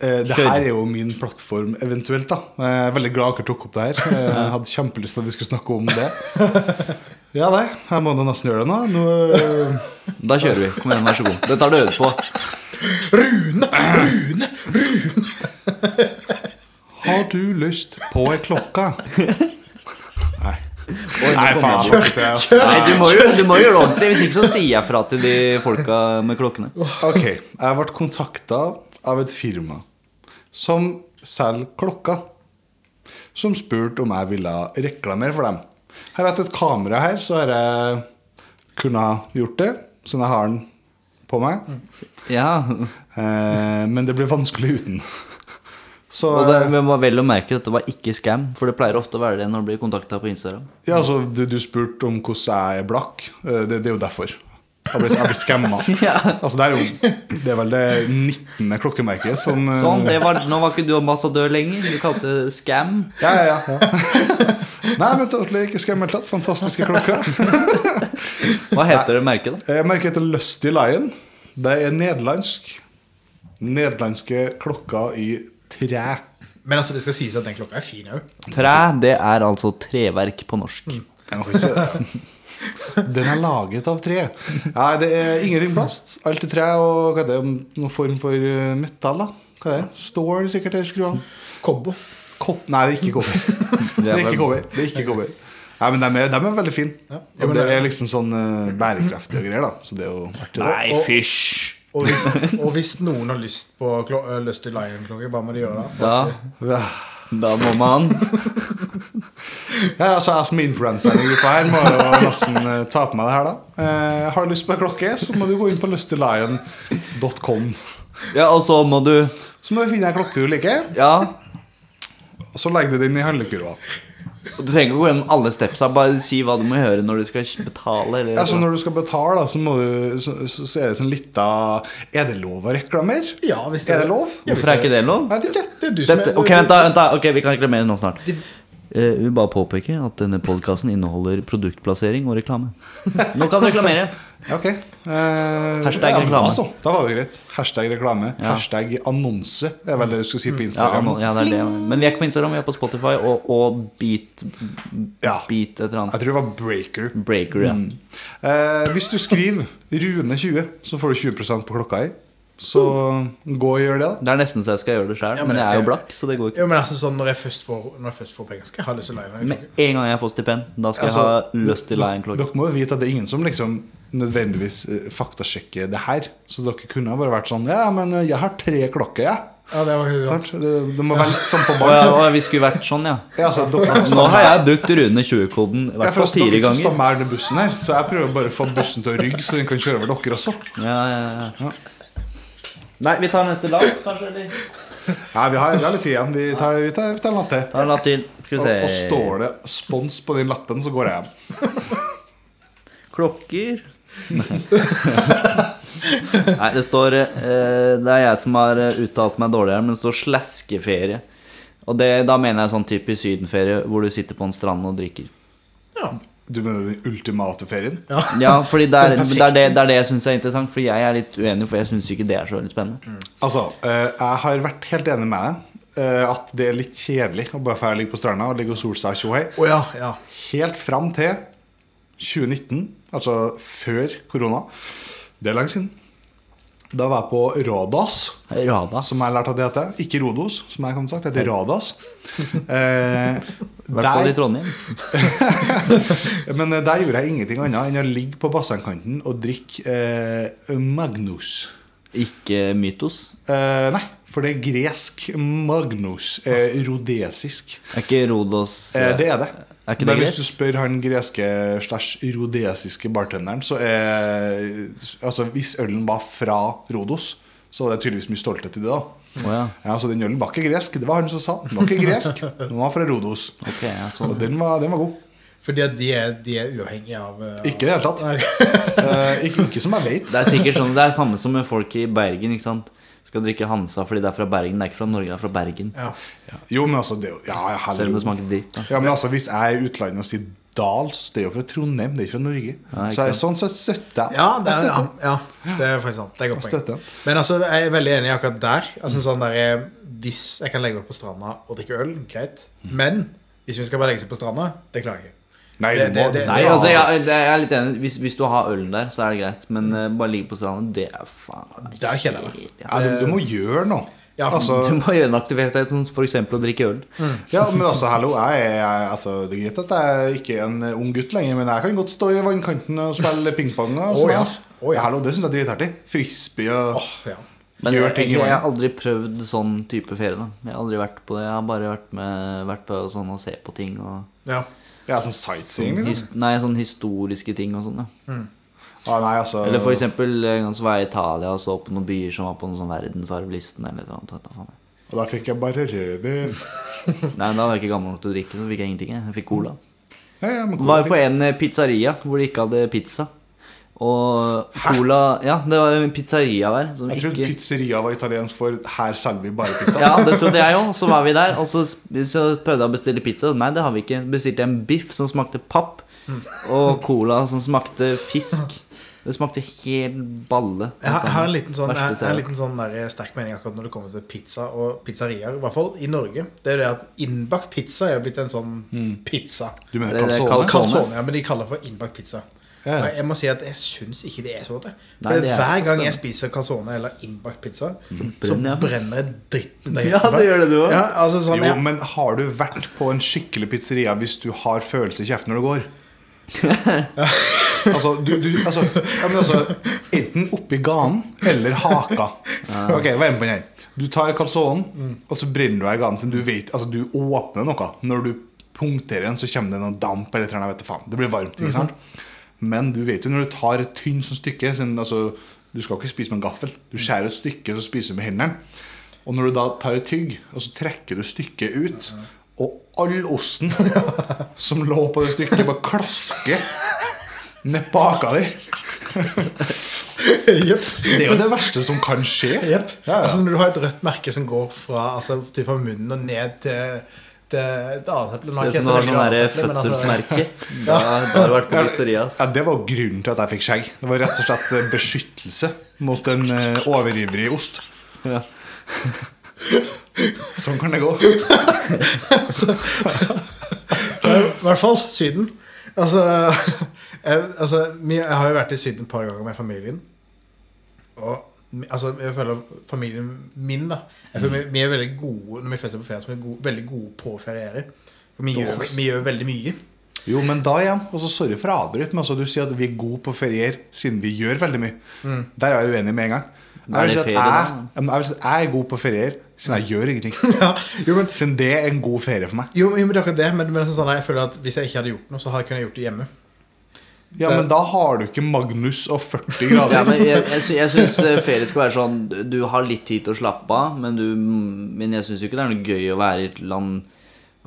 [SPEAKER 3] Eh, Det
[SPEAKER 2] Kjør.
[SPEAKER 3] her er jo min plattform eventuelt, da. Eh, Jeg er veldig glad dere tok opp det her. Eh, Jeg hadde kjempelyst til at vi skulle snakke om det. Ja, nei, jeg må nå nesten gjøre det nå. nå eh,
[SPEAKER 2] Da kjører vi. Kom igjen, vær så god. Det tar du øde på.
[SPEAKER 1] Rune! Rune!
[SPEAKER 3] har du lyst på ei klokke?
[SPEAKER 2] Oi,
[SPEAKER 3] Nei.
[SPEAKER 2] nå
[SPEAKER 3] Nei,
[SPEAKER 2] kom
[SPEAKER 3] faen.
[SPEAKER 2] jeg på.
[SPEAKER 3] dere til, altså.
[SPEAKER 2] Nei, du må, jo, du må gjøre det ordentlig. Hvis ikke så sier jeg fra til de folka med klokkene.
[SPEAKER 3] Ok, jeg ble kontakta av et firma som selger klokker. Som spurte om jeg ville reklamere for dem. Her har jeg et kamera her, så har jeg kunnet gjort det. Sånn jeg har den på meg.
[SPEAKER 2] Ja,
[SPEAKER 3] Eh, men det blir vanskelig uten. Så
[SPEAKER 2] og det, men var vel å merke dette var ikke scam, for det pleier ofte å være det når du blir kontakta på Instagram.
[SPEAKER 3] ja, altså, du, du spurte om hvordan jeg er blakk. Eh, Det, det er jo derfor. Jeg blir, jeg blir skamma.
[SPEAKER 2] Ja.
[SPEAKER 3] Altså, det, er jo, det er vel det 19. klokkemerket som eh,
[SPEAKER 2] Sånn, det var, Nå var ikke du ambassadør lenger. Du kalte det scam.
[SPEAKER 3] Ja, ja, ja. Nei, men totally ikke skammet tatt. Fantastiske klokker.
[SPEAKER 2] Hva heter det merket, da?
[SPEAKER 3] Eh, Merket heter Lusty Lion. Det er nederlandsk. Nederlandske klokker i tre.
[SPEAKER 1] Men altså, det skal sies at den klokka er fin òg.
[SPEAKER 2] Træ, det er altså treverk på norsk.
[SPEAKER 3] Jeg må ikke si det. Den er laget av tre. Nei, det er ingenting plast. Alt i tre og hva er det, noen form for eh, metall. da Hva er det? Stål, sikkert? eller skruene.
[SPEAKER 1] Kobbo.
[SPEAKER 3] Kopp Nei, det er ikke kobber. Det er ikke kobber. Det er ikke kobber. Nei, men de er, de er veldig
[SPEAKER 1] Ja.
[SPEAKER 3] fine.
[SPEAKER 1] Ja, men
[SPEAKER 3] Og det
[SPEAKER 1] det-
[SPEAKER 3] er liksom sånn eh, bærekraftig og greier, da. Så det er jo artig. det.
[SPEAKER 2] Nei, fysj!
[SPEAKER 1] Og hvis, og hvis noen har lyst på klo- øh, Lyst til Lion-klokke, hva må de gjøre da?
[SPEAKER 2] Da,
[SPEAKER 3] Ja,
[SPEAKER 2] da må man
[SPEAKER 3] altså Jeg som er influenser i gruppa her, må jo nesten eh, ta på meg det her, da. Eh, har du lyst på ei klokke, så må du gå inn på lustylion.com.
[SPEAKER 2] Ja, og så må du
[SPEAKER 3] Så må du finne ei klokke du liker.
[SPEAKER 2] Ja.
[SPEAKER 3] Og så legger du den i handlekurva.
[SPEAKER 2] Og Du trenger ikke gå gjennom alle stepsa, bare si hva du må gjøre når du skal betale. Eller,
[SPEAKER 3] Altså Når du skal betale, da, så, må du, så, så så er det sånn lita Er det lov å reklamere?
[SPEAKER 1] Ja, hvis det
[SPEAKER 3] Er det lov?
[SPEAKER 1] Ja,
[SPEAKER 2] Hvorfor er ikke det lov?
[SPEAKER 3] Jeg vet ikke.
[SPEAKER 1] Det er du som
[SPEAKER 2] Dette,
[SPEAKER 1] er-
[SPEAKER 2] ok, vent da, vent da, ok, vi kan reklamere nå snart. Eh, vi vil bare påpeke at denne podkasten inneholder produktplassering og reklame. Nå kan du reklamere.
[SPEAKER 3] Ja, Ok. Eh,
[SPEAKER 2] Hashtag
[SPEAKER 3] ja, men
[SPEAKER 2] reklame.
[SPEAKER 3] Altså, da var det greit. Hashtag reklame.
[SPEAKER 2] Ja. Mm.
[SPEAKER 3] Hashtag annonse er vel det du skal si på
[SPEAKER 2] Ja,
[SPEAKER 3] Instagram.
[SPEAKER 2] nå- ja, det er det. Men vi er ikke på Instagram, vi er på Spotify og, og Beat
[SPEAKER 3] Ja.
[SPEAKER 2] Beat et eller
[SPEAKER 3] Jeg
[SPEAKER 2] annet.
[SPEAKER 3] tror det var Breaker.
[SPEAKER 2] Breaker, ja.
[SPEAKER 3] Eh, hvis du skriver Rune20, så får du 20 på klokka ei. Så gå og gjør det, da.
[SPEAKER 2] Det er nesten så jeg skal gjøre det sjøl,
[SPEAKER 1] Ja, men
[SPEAKER 2] men
[SPEAKER 1] jeg
[SPEAKER 2] jeg er jo
[SPEAKER 1] skal-
[SPEAKER 2] blakk, så det går ikke.
[SPEAKER 1] Jo, men altså, sånn, når, jeg først får, når jeg først får penger, skal jeg ha lyst til å leie meg.
[SPEAKER 2] Med en gang jeg får stipend, da skal jeg
[SPEAKER 3] Altså,
[SPEAKER 2] ha lyst til
[SPEAKER 3] dere-
[SPEAKER 2] Lion Clock.
[SPEAKER 3] Dere må jo vite at det er ingen som liksom nødvendigvis eh, faktasjekker det her. Så dere kunne ha bare vært sånn Ja, men eh, jeg har tre klokker, jeg.
[SPEAKER 1] Ja, det var sant.
[SPEAKER 3] Sant? Det, det må være litt sånn på
[SPEAKER 2] Å ja,
[SPEAKER 3] ballen.
[SPEAKER 2] å, ja, vi skulle vært sånn, ja.
[SPEAKER 3] Ja, altså, dere,
[SPEAKER 2] Nå har jeg brukt Rune 20-koden i
[SPEAKER 3] Det er
[SPEAKER 2] hvert
[SPEAKER 3] for
[SPEAKER 2] fall
[SPEAKER 3] oss
[SPEAKER 2] fire
[SPEAKER 3] dere som
[SPEAKER 2] ganger.
[SPEAKER 3] stammer denne bussen her, så jeg prøver bare å få bussen til å rygge, så den kan kjøre over dere også.
[SPEAKER 2] Ja, ja, ja. Nei, vi tar neste lag, kanskje? Eller?
[SPEAKER 3] Nei, vi har, vi har litt tid igjen. Vi tar, vi tar, vi tar en lapp til.
[SPEAKER 2] Ta en lapp til. Skal
[SPEAKER 3] Og,
[SPEAKER 2] vi
[SPEAKER 3] og
[SPEAKER 2] se.
[SPEAKER 3] står det 'spons' på den lappen, så går jeg hjem.
[SPEAKER 2] Klokker Nei, det står eh, Det er jeg som har eh, uttalt meg dårlig her, men det står slaskeferie. Og det, da mener jeg sånn typisk sydenferie hvor du sitter på en strand og drikker.
[SPEAKER 1] Ja.
[SPEAKER 3] Du mener den ultimate ferien?
[SPEAKER 2] Ja, fordi det er
[SPEAKER 1] Den
[SPEAKER 2] det,
[SPEAKER 1] perfekte.
[SPEAKER 2] er det, det, er det jeg syns er interessant, for jeg er litt uenig, for jeg syns ikke det er så veldig spennende.
[SPEAKER 3] Altså, eh, jeg har vært helt enig med deg eh, at det er litt kjedelig å bare få ligge på stranda og ligge og sole seg og tjohei.
[SPEAKER 1] Å ja, ja.
[SPEAKER 3] Helt fram til 2019, altså før korona. Det er lenge siden. Da var jeg på Rådås.
[SPEAKER 2] Rada.
[SPEAKER 3] som jeg lærte at det heter. Ikke Rodos, som jeg kan sagt. Det heter Radas. Eh,
[SPEAKER 2] I hvert fall i
[SPEAKER 3] der,
[SPEAKER 2] Trondheim.
[SPEAKER 3] men eh, der gjorde jeg ingenting annet enn å ligge på bassengkanten og drikke eh, Magnus.
[SPEAKER 2] Ikke Mytos.
[SPEAKER 3] Eh, nei, for det er gresk Magnus. Eh, rodesisk.
[SPEAKER 2] Er ikke Rodos
[SPEAKER 3] Eh, det er det.
[SPEAKER 2] Er ikke det
[SPEAKER 3] Men hvis du
[SPEAKER 2] gresk?
[SPEAKER 3] spør han greske slash rodesiske bartenderen, så er Altså, hvis ølen var fra Rodos, så var det tydeligvis mye stolthet i det, da.
[SPEAKER 2] eh, Å ja.
[SPEAKER 3] Ja, så den ølen var ikke gresk. Det var han som sa. Den var ikke gresk. Den var fra Rodos.
[SPEAKER 2] Ok, sånn. jeg så
[SPEAKER 3] Og
[SPEAKER 2] det.
[SPEAKER 3] den var, den var god.
[SPEAKER 1] Fordi at de er, de er uavhengige av eh,
[SPEAKER 3] Ikke i det hele tatt.
[SPEAKER 1] Nei.
[SPEAKER 3] Eh, ikke, ikke som jeg vet.
[SPEAKER 2] Det er sikkert sånn, det er samme som med folk i Bergen, ikke sant. Skal drikke Hansa fordi det er fra Bergen. Det er ikke fra Norge, det er fra Bergen.
[SPEAKER 1] Ja.
[SPEAKER 3] Jo, men altså, det, er jo- ja, hallo.
[SPEAKER 2] Selv om det smaker dritt. da
[SPEAKER 3] ja, men altså, Hvis jeg er i utlandet og sier Dals, det er jo fra Trondheim, det er ikke fra Norge.
[SPEAKER 2] Ja, ikke
[SPEAKER 3] så jeg,
[SPEAKER 2] sant.
[SPEAKER 3] sånn sett støtter jeg.
[SPEAKER 1] Ja, det
[SPEAKER 3] jeg
[SPEAKER 1] er, ja,
[SPEAKER 3] støtter.
[SPEAKER 1] ja, det er faktisk sant. Det er et
[SPEAKER 3] Jeg
[SPEAKER 1] godt poeng.
[SPEAKER 3] støtter.
[SPEAKER 1] Men altså, jeg er veldig enig i akkurat der. Altså, sånn der eh, hvis jeg kan legge meg på stranda og drikke øl, greit. Men hvis vi skal bare legge seg på stranda, det klager jeg.
[SPEAKER 3] Nei,
[SPEAKER 1] Det-
[SPEAKER 3] du må,
[SPEAKER 1] det- det-
[SPEAKER 2] Nei,
[SPEAKER 1] Ja.
[SPEAKER 2] altså, jeg, det- jeg er litt enig. Hvis, hvis du har ølen der, så er det greit. Men eh, bare ligge på stranda, det er faen
[SPEAKER 1] Det er kjedelig.
[SPEAKER 2] helt- ja.
[SPEAKER 3] ja, du, du må gjøre noe.
[SPEAKER 1] Eh, Ja,
[SPEAKER 3] altså,
[SPEAKER 2] Du må gjøre en aktivitet som f.eks. å drikke øl.
[SPEAKER 3] ja, men altså, hallo, jeg er jeg, altså, Det er greit at jeg ikke er en eh, ung gutt lenger, men jeg kan godt stå i vannkanten og spille pingpong. Og
[SPEAKER 1] Å,
[SPEAKER 3] sånn,
[SPEAKER 1] ja.
[SPEAKER 3] altså.
[SPEAKER 1] Å, ja.
[SPEAKER 3] ja, hallo, det syns jeg er dritartig. Frisbee og
[SPEAKER 1] Åh, ja.
[SPEAKER 2] Men
[SPEAKER 3] Gjør
[SPEAKER 2] jeg,
[SPEAKER 3] ting i
[SPEAKER 2] egentlig, jeg har
[SPEAKER 3] verden.
[SPEAKER 2] aldri prøvd sånn type ferie. da Jeg har aldri vært på det. Jeg har bare vært, med, vært på sånn og se på ting. Og,
[SPEAKER 1] ja.
[SPEAKER 3] ja, sånn sightseeing,
[SPEAKER 2] sånn,
[SPEAKER 3] liksom.
[SPEAKER 2] his, nei, sånn historiske ting og sånn. Ja.
[SPEAKER 3] Ah, nei, altså,
[SPEAKER 2] Eller for eksempel eh, en gang så var jeg i Italia og så på noen byer som var på noen sånn verdensarvlisten eller noe annet. vet du faen.
[SPEAKER 3] og da fikk jeg bare rødvin.
[SPEAKER 1] Hm.
[SPEAKER 2] Nei, da var jeg ikke gammel nok til å drikke, så fikk jeg ingenting. jeg. Jeg fikk cola.
[SPEAKER 3] Ja, ja,
[SPEAKER 1] Hm.
[SPEAKER 3] men
[SPEAKER 2] Var på en eh, pizzeria hvor de ikke hadde pizza. Og cola Ja, det var en pizzeria der som
[SPEAKER 3] Jeg trodde
[SPEAKER 2] ikke
[SPEAKER 3] pizzeria var italiensk for 'her selger vi bare pizza'.
[SPEAKER 2] ja,
[SPEAKER 1] sånn.
[SPEAKER 2] det trodde jeg òg. Så var vi der, og så, så prøvde jeg å bestille pizza. Nei, det har vi ikke. Bestilte jeg en biff som smakte papp,
[SPEAKER 1] Hm.
[SPEAKER 2] og cola som smakte fisk. Det smakte helt balle.
[SPEAKER 1] Jeg har, jeg har en liten sånn, jeg,
[SPEAKER 2] Verste
[SPEAKER 1] jeg har en
[SPEAKER 2] stedet.
[SPEAKER 1] liten sånn der sterk mening akkurat når det kommer til pizza og pizzeriaer. I hvert fall i Norge. Det er det at innbakt pizza er blitt en sånn pizza.
[SPEAKER 3] Du mener
[SPEAKER 2] Det er det
[SPEAKER 3] calzone?
[SPEAKER 2] calzone.
[SPEAKER 1] Calzone, ja, men de kaller det for innbakt pizza.
[SPEAKER 3] Ja.
[SPEAKER 1] Og jeg må si at jeg syns ikke det er så godt. jeg. For
[SPEAKER 2] Nei, det er
[SPEAKER 1] hver
[SPEAKER 2] ikke så
[SPEAKER 1] gang jeg spiser calzone eller innbakt pizza, så
[SPEAKER 2] brenner jeg.
[SPEAKER 1] brenner dritten der.
[SPEAKER 2] Ja, det gjør det du også.
[SPEAKER 1] Ja, altså, sånn,
[SPEAKER 3] Jo,
[SPEAKER 1] jeg-
[SPEAKER 3] men har du vært på en skikkelig pizzeria hvis du har følelse i kjeften når du går? altså, du, du altså, ja, men altså Enten oppi ganen eller haka. Ok, Vær med på den her. Du tar calzonen, og så brenner du deg i ganen sin. Du, vet, altså, du åpner noe. Når du punkterer den, så kommer det noe damp. Eller et eller annet, vet du faen. Det blir varmt. ikke sant? Men du vet jo når du tar et tynt sånn stykke siden, altså, Du skal ikke spise med en gaffel. Du skjærer et stykke, så spiser du med hendene. Og når du da tar et tygg, og så trekker du stykket ut, og all osten som lå på det stykket, bare klasker ned baka di.
[SPEAKER 1] Jepp.
[SPEAKER 3] Det er jo det verste som kan skje.
[SPEAKER 1] Jepp.
[SPEAKER 3] Ja, ja.
[SPEAKER 1] Altså, når du har et rødt merke som går fra, altså, typ fra munnen og ned til et, eh, et annet
[SPEAKER 2] Ser
[SPEAKER 1] eplemerke.
[SPEAKER 2] ut som du har
[SPEAKER 1] veldig
[SPEAKER 2] sånn der
[SPEAKER 1] annet eple, men altså-
[SPEAKER 2] fødselsmerke. Da, da har du vært på pizzeria.
[SPEAKER 3] Ja,
[SPEAKER 2] ass.
[SPEAKER 3] Det var grunnen til at jeg fikk skjegg. Det var rett og slett eh, beskyttelse mot en eh, overivrig ost.
[SPEAKER 2] Ja.
[SPEAKER 3] Sånn kan det gå.
[SPEAKER 1] I hvert fall Syden. Altså, jeg, altså vi- Jeg har jo vært i Syden et par ganger med familien. Og mi- altså, jeg føler familien min da Jeg føler vi, vi er veldig gode når vi først er på ferie, så er vi gode, veldig gode på å feriere. For vi gjør, vi gjør veldig mye.
[SPEAKER 3] Jo, men da igjen. Altså, sorry for å avbryte, men altså, du sier at vi er gode på ferier siden vi gjør veldig mye.
[SPEAKER 1] Mm.
[SPEAKER 3] Der er jeg uenig med en gang.
[SPEAKER 2] Er
[SPEAKER 3] Jeg vil,
[SPEAKER 2] det
[SPEAKER 3] si at
[SPEAKER 2] ferie,
[SPEAKER 3] jeg,
[SPEAKER 2] da?
[SPEAKER 3] ja, men jeg vil si at jeg er god på ferier siden jeg gjør ingenting.
[SPEAKER 1] Ja, jo, men,
[SPEAKER 3] Siden det er en god ferie for meg.
[SPEAKER 1] jo, men det er akkurat det. Men, men sånn, jeg føler at hvis jeg ikke hadde gjort noe, så hadde jeg kunnet gjort det hjemme.
[SPEAKER 3] Ja,
[SPEAKER 1] Det-
[SPEAKER 3] men da har du ikke Magnus og 40
[SPEAKER 2] Ja,
[SPEAKER 3] grader.
[SPEAKER 2] men jeg, jeg, sy- jeg syns ferie skal være sånn du- Du har litt tid til å slappe av, men, du, men jeg syns jo ikke det er noe gøy å være i et land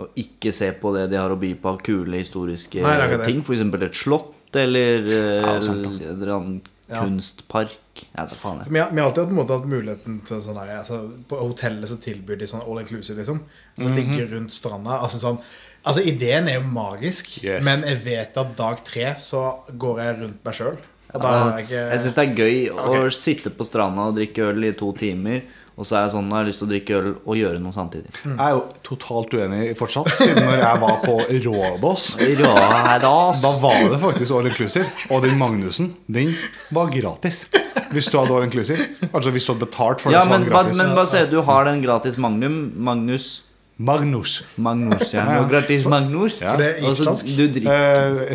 [SPEAKER 2] og ikke se på det de har å by på av kule historiske
[SPEAKER 1] Nei, det er ikke det.
[SPEAKER 2] ting. For eksempel et slott eller
[SPEAKER 3] Ja,
[SPEAKER 2] ja,
[SPEAKER 3] sant,
[SPEAKER 2] en
[SPEAKER 3] da.
[SPEAKER 2] eller annen
[SPEAKER 1] Ja.
[SPEAKER 2] kunstpark. Ja, da
[SPEAKER 1] For
[SPEAKER 2] faen jeg.
[SPEAKER 1] Vi har, vi har alltid hatt, på en måte, hatt muligheten til sånn der, altså, På hotellet så tilbyr de sånn all inclusive, liksom. Så Ligge rundt stranda. Altså, sånn, altså ideen er jo magisk,
[SPEAKER 3] Yes.
[SPEAKER 1] men jeg vet at dag tre så går jeg rundt meg sjøl. Og da
[SPEAKER 2] Ja,
[SPEAKER 1] er jeg
[SPEAKER 2] Ah. Jeg syns
[SPEAKER 1] ikke
[SPEAKER 2] det er gøy
[SPEAKER 3] Ok.
[SPEAKER 2] å sitte på stranda og drikke øl i to timer, og så er jeg sånn Nå har jeg lyst til å drikke øl og gjøre noe samtidig.
[SPEAKER 3] Jeg er jo totalt uenig fortsatt, siden når jeg var på Rådås.
[SPEAKER 2] Ras.
[SPEAKER 3] Da var det faktisk all inclusive. Og den Magnussen, den var gratis. Hvis du hadde all inclusive. Altså hvis du hadde betalt for det
[SPEAKER 2] Ja,
[SPEAKER 3] som
[SPEAKER 2] men,
[SPEAKER 3] var
[SPEAKER 2] ba-
[SPEAKER 3] gratis.
[SPEAKER 2] men bare se, du har den gratis Magnum. Magnus.
[SPEAKER 3] Magnus.
[SPEAKER 2] Magnus, ja.
[SPEAKER 3] Ja, ja.
[SPEAKER 2] Nå gratis Magnus.
[SPEAKER 3] Ja.
[SPEAKER 1] Det er
[SPEAKER 2] Og så
[SPEAKER 1] islandsk.
[SPEAKER 2] du drikker,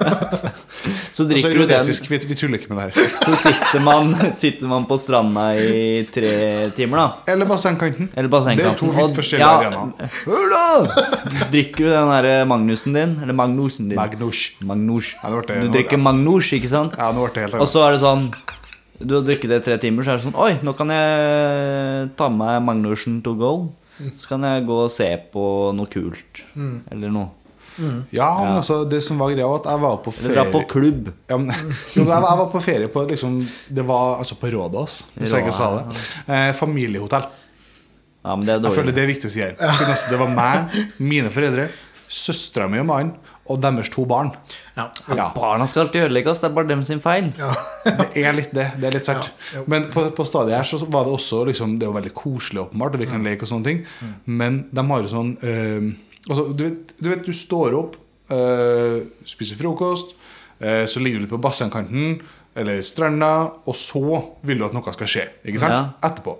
[SPEAKER 3] Eh,
[SPEAKER 2] så
[SPEAKER 3] altså
[SPEAKER 2] drikker du den,
[SPEAKER 3] rhodesisk, vi, vi tuller ikke med det her.
[SPEAKER 2] så sitter man, sitter man på stranda i tre timer, da.
[SPEAKER 3] Eller bassengkanten.
[SPEAKER 2] Eller bassengkanten.
[SPEAKER 3] Det er to vidt
[SPEAKER 2] og-
[SPEAKER 3] forskjellige arenaer.
[SPEAKER 2] Hør da! Drikker du den der eh, Magnusen din? Eller Magnusen din?
[SPEAKER 3] Magnus.
[SPEAKER 2] Magnus.
[SPEAKER 3] Ja, det ble det.
[SPEAKER 2] Du drikker Magnus, ikke sant?
[SPEAKER 3] Ja, nå ble det helt
[SPEAKER 2] Og så er det sånn Du har drukket det i tre timer, så er det sånn Oi, nå kan jeg ta med meg Magnussen to go. Så kan jeg gå og se på noe kult. Eller noe.
[SPEAKER 3] Ja, men
[SPEAKER 2] Ja.
[SPEAKER 3] altså, det som var greia, var at jeg var på
[SPEAKER 2] Eller dra på
[SPEAKER 3] ferie
[SPEAKER 2] klubb.
[SPEAKER 3] Ja, men, jo, men jeg, jeg var på ferie på liksom, Det var altså på Rådås, hvis jeg ikke sa det. Eh, familiehotell.
[SPEAKER 2] Ja, men det er
[SPEAKER 3] Jeg føler
[SPEAKER 2] dårlig.
[SPEAKER 3] det er viktig å si her. Så nesten, Det var meg, mine foreldre, søstera mi og mannen og deres to barn.
[SPEAKER 1] ja.
[SPEAKER 3] Ja,
[SPEAKER 2] Barna skal alltid ødelegges, det er bare dem sin feil.
[SPEAKER 1] Ja.
[SPEAKER 3] Det er litt det. Det er litt sært.
[SPEAKER 1] Ja, jo.
[SPEAKER 3] Men på, på stadiet her så var det også liksom, Det er jo veldig koselig, åpenbart, og vi kan leke og sånne ting,
[SPEAKER 1] Mm.
[SPEAKER 3] men de har jo sånn eh, altså, du, vet, du vet, du står opp, eh, spiser frokost, eh, så ligger du litt på bassengkanten eller stranda, og så vil du at noe skal skje. Ikke sant?
[SPEAKER 2] Ja.
[SPEAKER 3] Etterpå.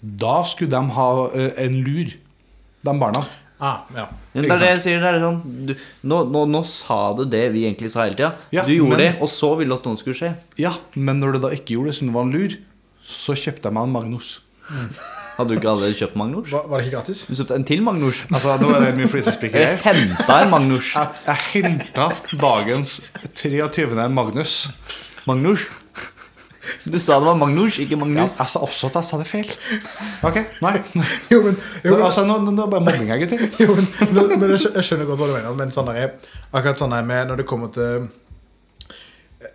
[SPEAKER 3] Da skulle de ha eh, en lur, de barna.
[SPEAKER 1] Ah, ja.
[SPEAKER 2] Men Det er det jeg sier, det er sånn du, nå, nå, nå sa du det vi egentlig sa hele tida.
[SPEAKER 3] Ja,
[SPEAKER 2] du gjorde
[SPEAKER 3] men-
[SPEAKER 2] det, og så ville du at noen skulle skje.
[SPEAKER 3] Ja, men når det da ikke gjorde det, siden det var en lur, så kjøpte jeg meg en Magnus.
[SPEAKER 2] Hadde du ikke allerede kjøpt Magnus?
[SPEAKER 1] Var, var det ikke gratis?
[SPEAKER 2] Du kjøpte en til Magnus.
[SPEAKER 3] Altså, nå er det mye flisespikker
[SPEAKER 2] Eller
[SPEAKER 3] her.
[SPEAKER 2] henta en Magnus.
[SPEAKER 3] Jeg, jeg henta dagens 23. Magnus.
[SPEAKER 2] Magnus. Du sa det var Magnus, ikke
[SPEAKER 3] Ja,
[SPEAKER 2] Magnus.
[SPEAKER 3] jeg sa også at jeg sa det feil. Ok, nei.
[SPEAKER 1] Jo, men, jo,
[SPEAKER 3] Men,
[SPEAKER 1] men,
[SPEAKER 3] altså, nå, nå, nå er det bare mobbing her, gutter.
[SPEAKER 1] jo, men, men, men jeg skjø- jeg skjønner godt hva du mener. Men sånn der, akkurat sånn der med når det kommer til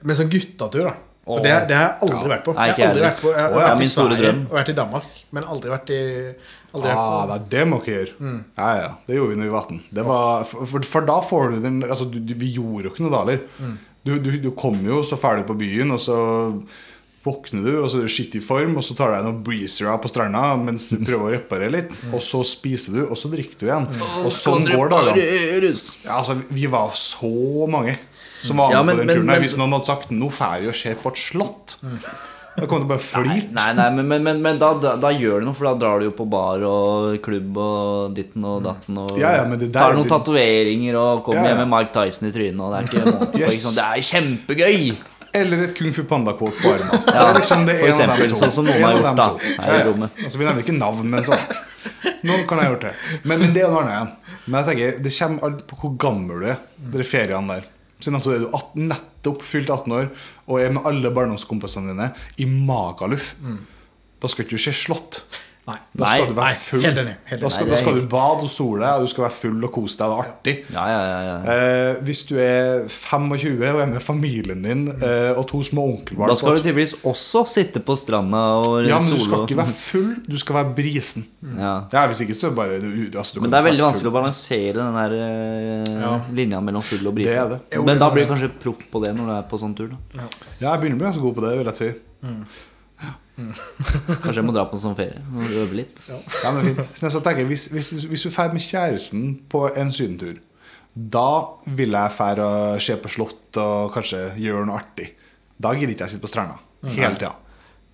[SPEAKER 1] Med sånn guttatur, da. Og det, det har jeg aldri vært på.
[SPEAKER 2] Nei,
[SPEAKER 1] Jeg
[SPEAKER 2] ikke
[SPEAKER 1] har aldri
[SPEAKER 2] heller.
[SPEAKER 1] vært på Jeg har
[SPEAKER 2] Å, ja,
[SPEAKER 1] vært i
[SPEAKER 2] min store
[SPEAKER 1] Sverige
[SPEAKER 2] drøm.
[SPEAKER 1] og vært i Danmark, men aldri vært i aldri vært
[SPEAKER 3] Ah,
[SPEAKER 1] på-
[SPEAKER 3] nei, det må dere
[SPEAKER 2] Mm.
[SPEAKER 3] gjøre. Ja, ja, Det gjorde vi når vi var 18. Det var, for, for- for da får du den altså, du, du, Vi gjorde jo ikke noe daler.
[SPEAKER 2] Mm.
[SPEAKER 3] Du, du, du kom jo, så drar du på byen, og så våkner du, og så er du skitt i form, og så tar du deg noen breezere på stranda mens du prøver å reparere litt,
[SPEAKER 2] Mm.
[SPEAKER 3] og så spiser du, og så drikker du igjen. Og sånn går dagene.
[SPEAKER 1] eh,
[SPEAKER 3] Ja, altså, vi var så mange som var
[SPEAKER 2] Mm.
[SPEAKER 3] med
[SPEAKER 2] Ja, men-
[SPEAKER 3] på den
[SPEAKER 2] men-
[SPEAKER 3] turen.
[SPEAKER 2] men-
[SPEAKER 3] her.
[SPEAKER 2] Mm.
[SPEAKER 3] Hvis noen hadde sagt 'nå drar vi og ser på et slott', da kom det bare flir.
[SPEAKER 2] Nei, nei, men, men, men, men da, da, da gjør du noe, for da drar du jo på bar og klubb og ditten
[SPEAKER 1] Mm.
[SPEAKER 2] og datten og
[SPEAKER 3] Ja, ja, men det der-
[SPEAKER 2] tar noen
[SPEAKER 3] det-
[SPEAKER 2] tatoveringer og kommer
[SPEAKER 3] Ja, ja.
[SPEAKER 2] hjem med Mike Tyson i trynet, og det er ikke måte på.
[SPEAKER 3] Yes.
[SPEAKER 2] Ikke sant? Det er kjempegøy!
[SPEAKER 3] Eller et Kung Fu Panda-kåt på armen. Det
[SPEAKER 2] Ja,
[SPEAKER 3] er liksom det
[SPEAKER 2] for
[SPEAKER 3] ene
[SPEAKER 2] eksempel,
[SPEAKER 3] av dem to.
[SPEAKER 2] sånn som noen
[SPEAKER 3] En
[SPEAKER 2] har
[SPEAKER 3] av
[SPEAKER 2] gjort,
[SPEAKER 3] dem
[SPEAKER 2] da,
[SPEAKER 3] to.
[SPEAKER 2] her i
[SPEAKER 3] Ja, ja.
[SPEAKER 2] rommet.
[SPEAKER 3] Altså, vi nevner ikke navn, men sånn. Noen kan ha gjort det. Men, men det er noe annet igjen. Men jeg tenker, det kommer alt på hvor gammel du er, de feriene der. Siden altså er du 18, nettopp fylt 18 år og er med alle barndomskompisene dine i Magaluf. Da skal ikke du se slott.
[SPEAKER 1] Nei.
[SPEAKER 3] Da skal
[SPEAKER 2] Nei,
[SPEAKER 3] du
[SPEAKER 1] Nei,
[SPEAKER 3] være full.
[SPEAKER 1] helt enig. Helt
[SPEAKER 3] Da
[SPEAKER 1] enig.
[SPEAKER 3] skal,
[SPEAKER 2] Nei,
[SPEAKER 3] da
[SPEAKER 2] det er
[SPEAKER 3] skal du
[SPEAKER 2] helt-
[SPEAKER 3] bade og sole deg, og du skal være full og kose deg. Det er artig.
[SPEAKER 2] Ja, ja, ja, ja.
[SPEAKER 3] Eh, hvis du er 25 og er med familien din eh, og to små
[SPEAKER 2] Mm.
[SPEAKER 3] onkelbarn
[SPEAKER 2] Da skal du tydeligvis også sitte på stranda og
[SPEAKER 3] Ja, men du skal
[SPEAKER 2] Eh, solo.
[SPEAKER 3] ikke være full, du skal være brisen.
[SPEAKER 2] ja.
[SPEAKER 3] Ja, Hvis ikke, så bare du, altså, du
[SPEAKER 2] Men
[SPEAKER 3] kan
[SPEAKER 2] det er
[SPEAKER 3] være
[SPEAKER 2] veldig vanskelig
[SPEAKER 3] full.
[SPEAKER 2] å balansere den der eh,
[SPEAKER 1] Ja.
[SPEAKER 2] linja mellom full og brisen.
[SPEAKER 3] Det er det.
[SPEAKER 1] Jo,
[SPEAKER 2] Men
[SPEAKER 1] det
[SPEAKER 2] da
[SPEAKER 1] må
[SPEAKER 2] blir
[SPEAKER 1] det.
[SPEAKER 2] du kanskje proff på det når du er på sånn tur. da
[SPEAKER 3] Ja, jeg begynner å bli ganske god på det, vil jeg si.
[SPEAKER 2] Kanskje jeg må dra på en sånn ferie og øve litt.
[SPEAKER 3] Ja, men fint Så jeg så tenker, hvis, hvis, hvis du drar med kjæresten på en sydentur, da vil jeg dra og se på slott og kanskje gjøre noe artig. Da gidder ikke jeg sitte på stranda hele tida.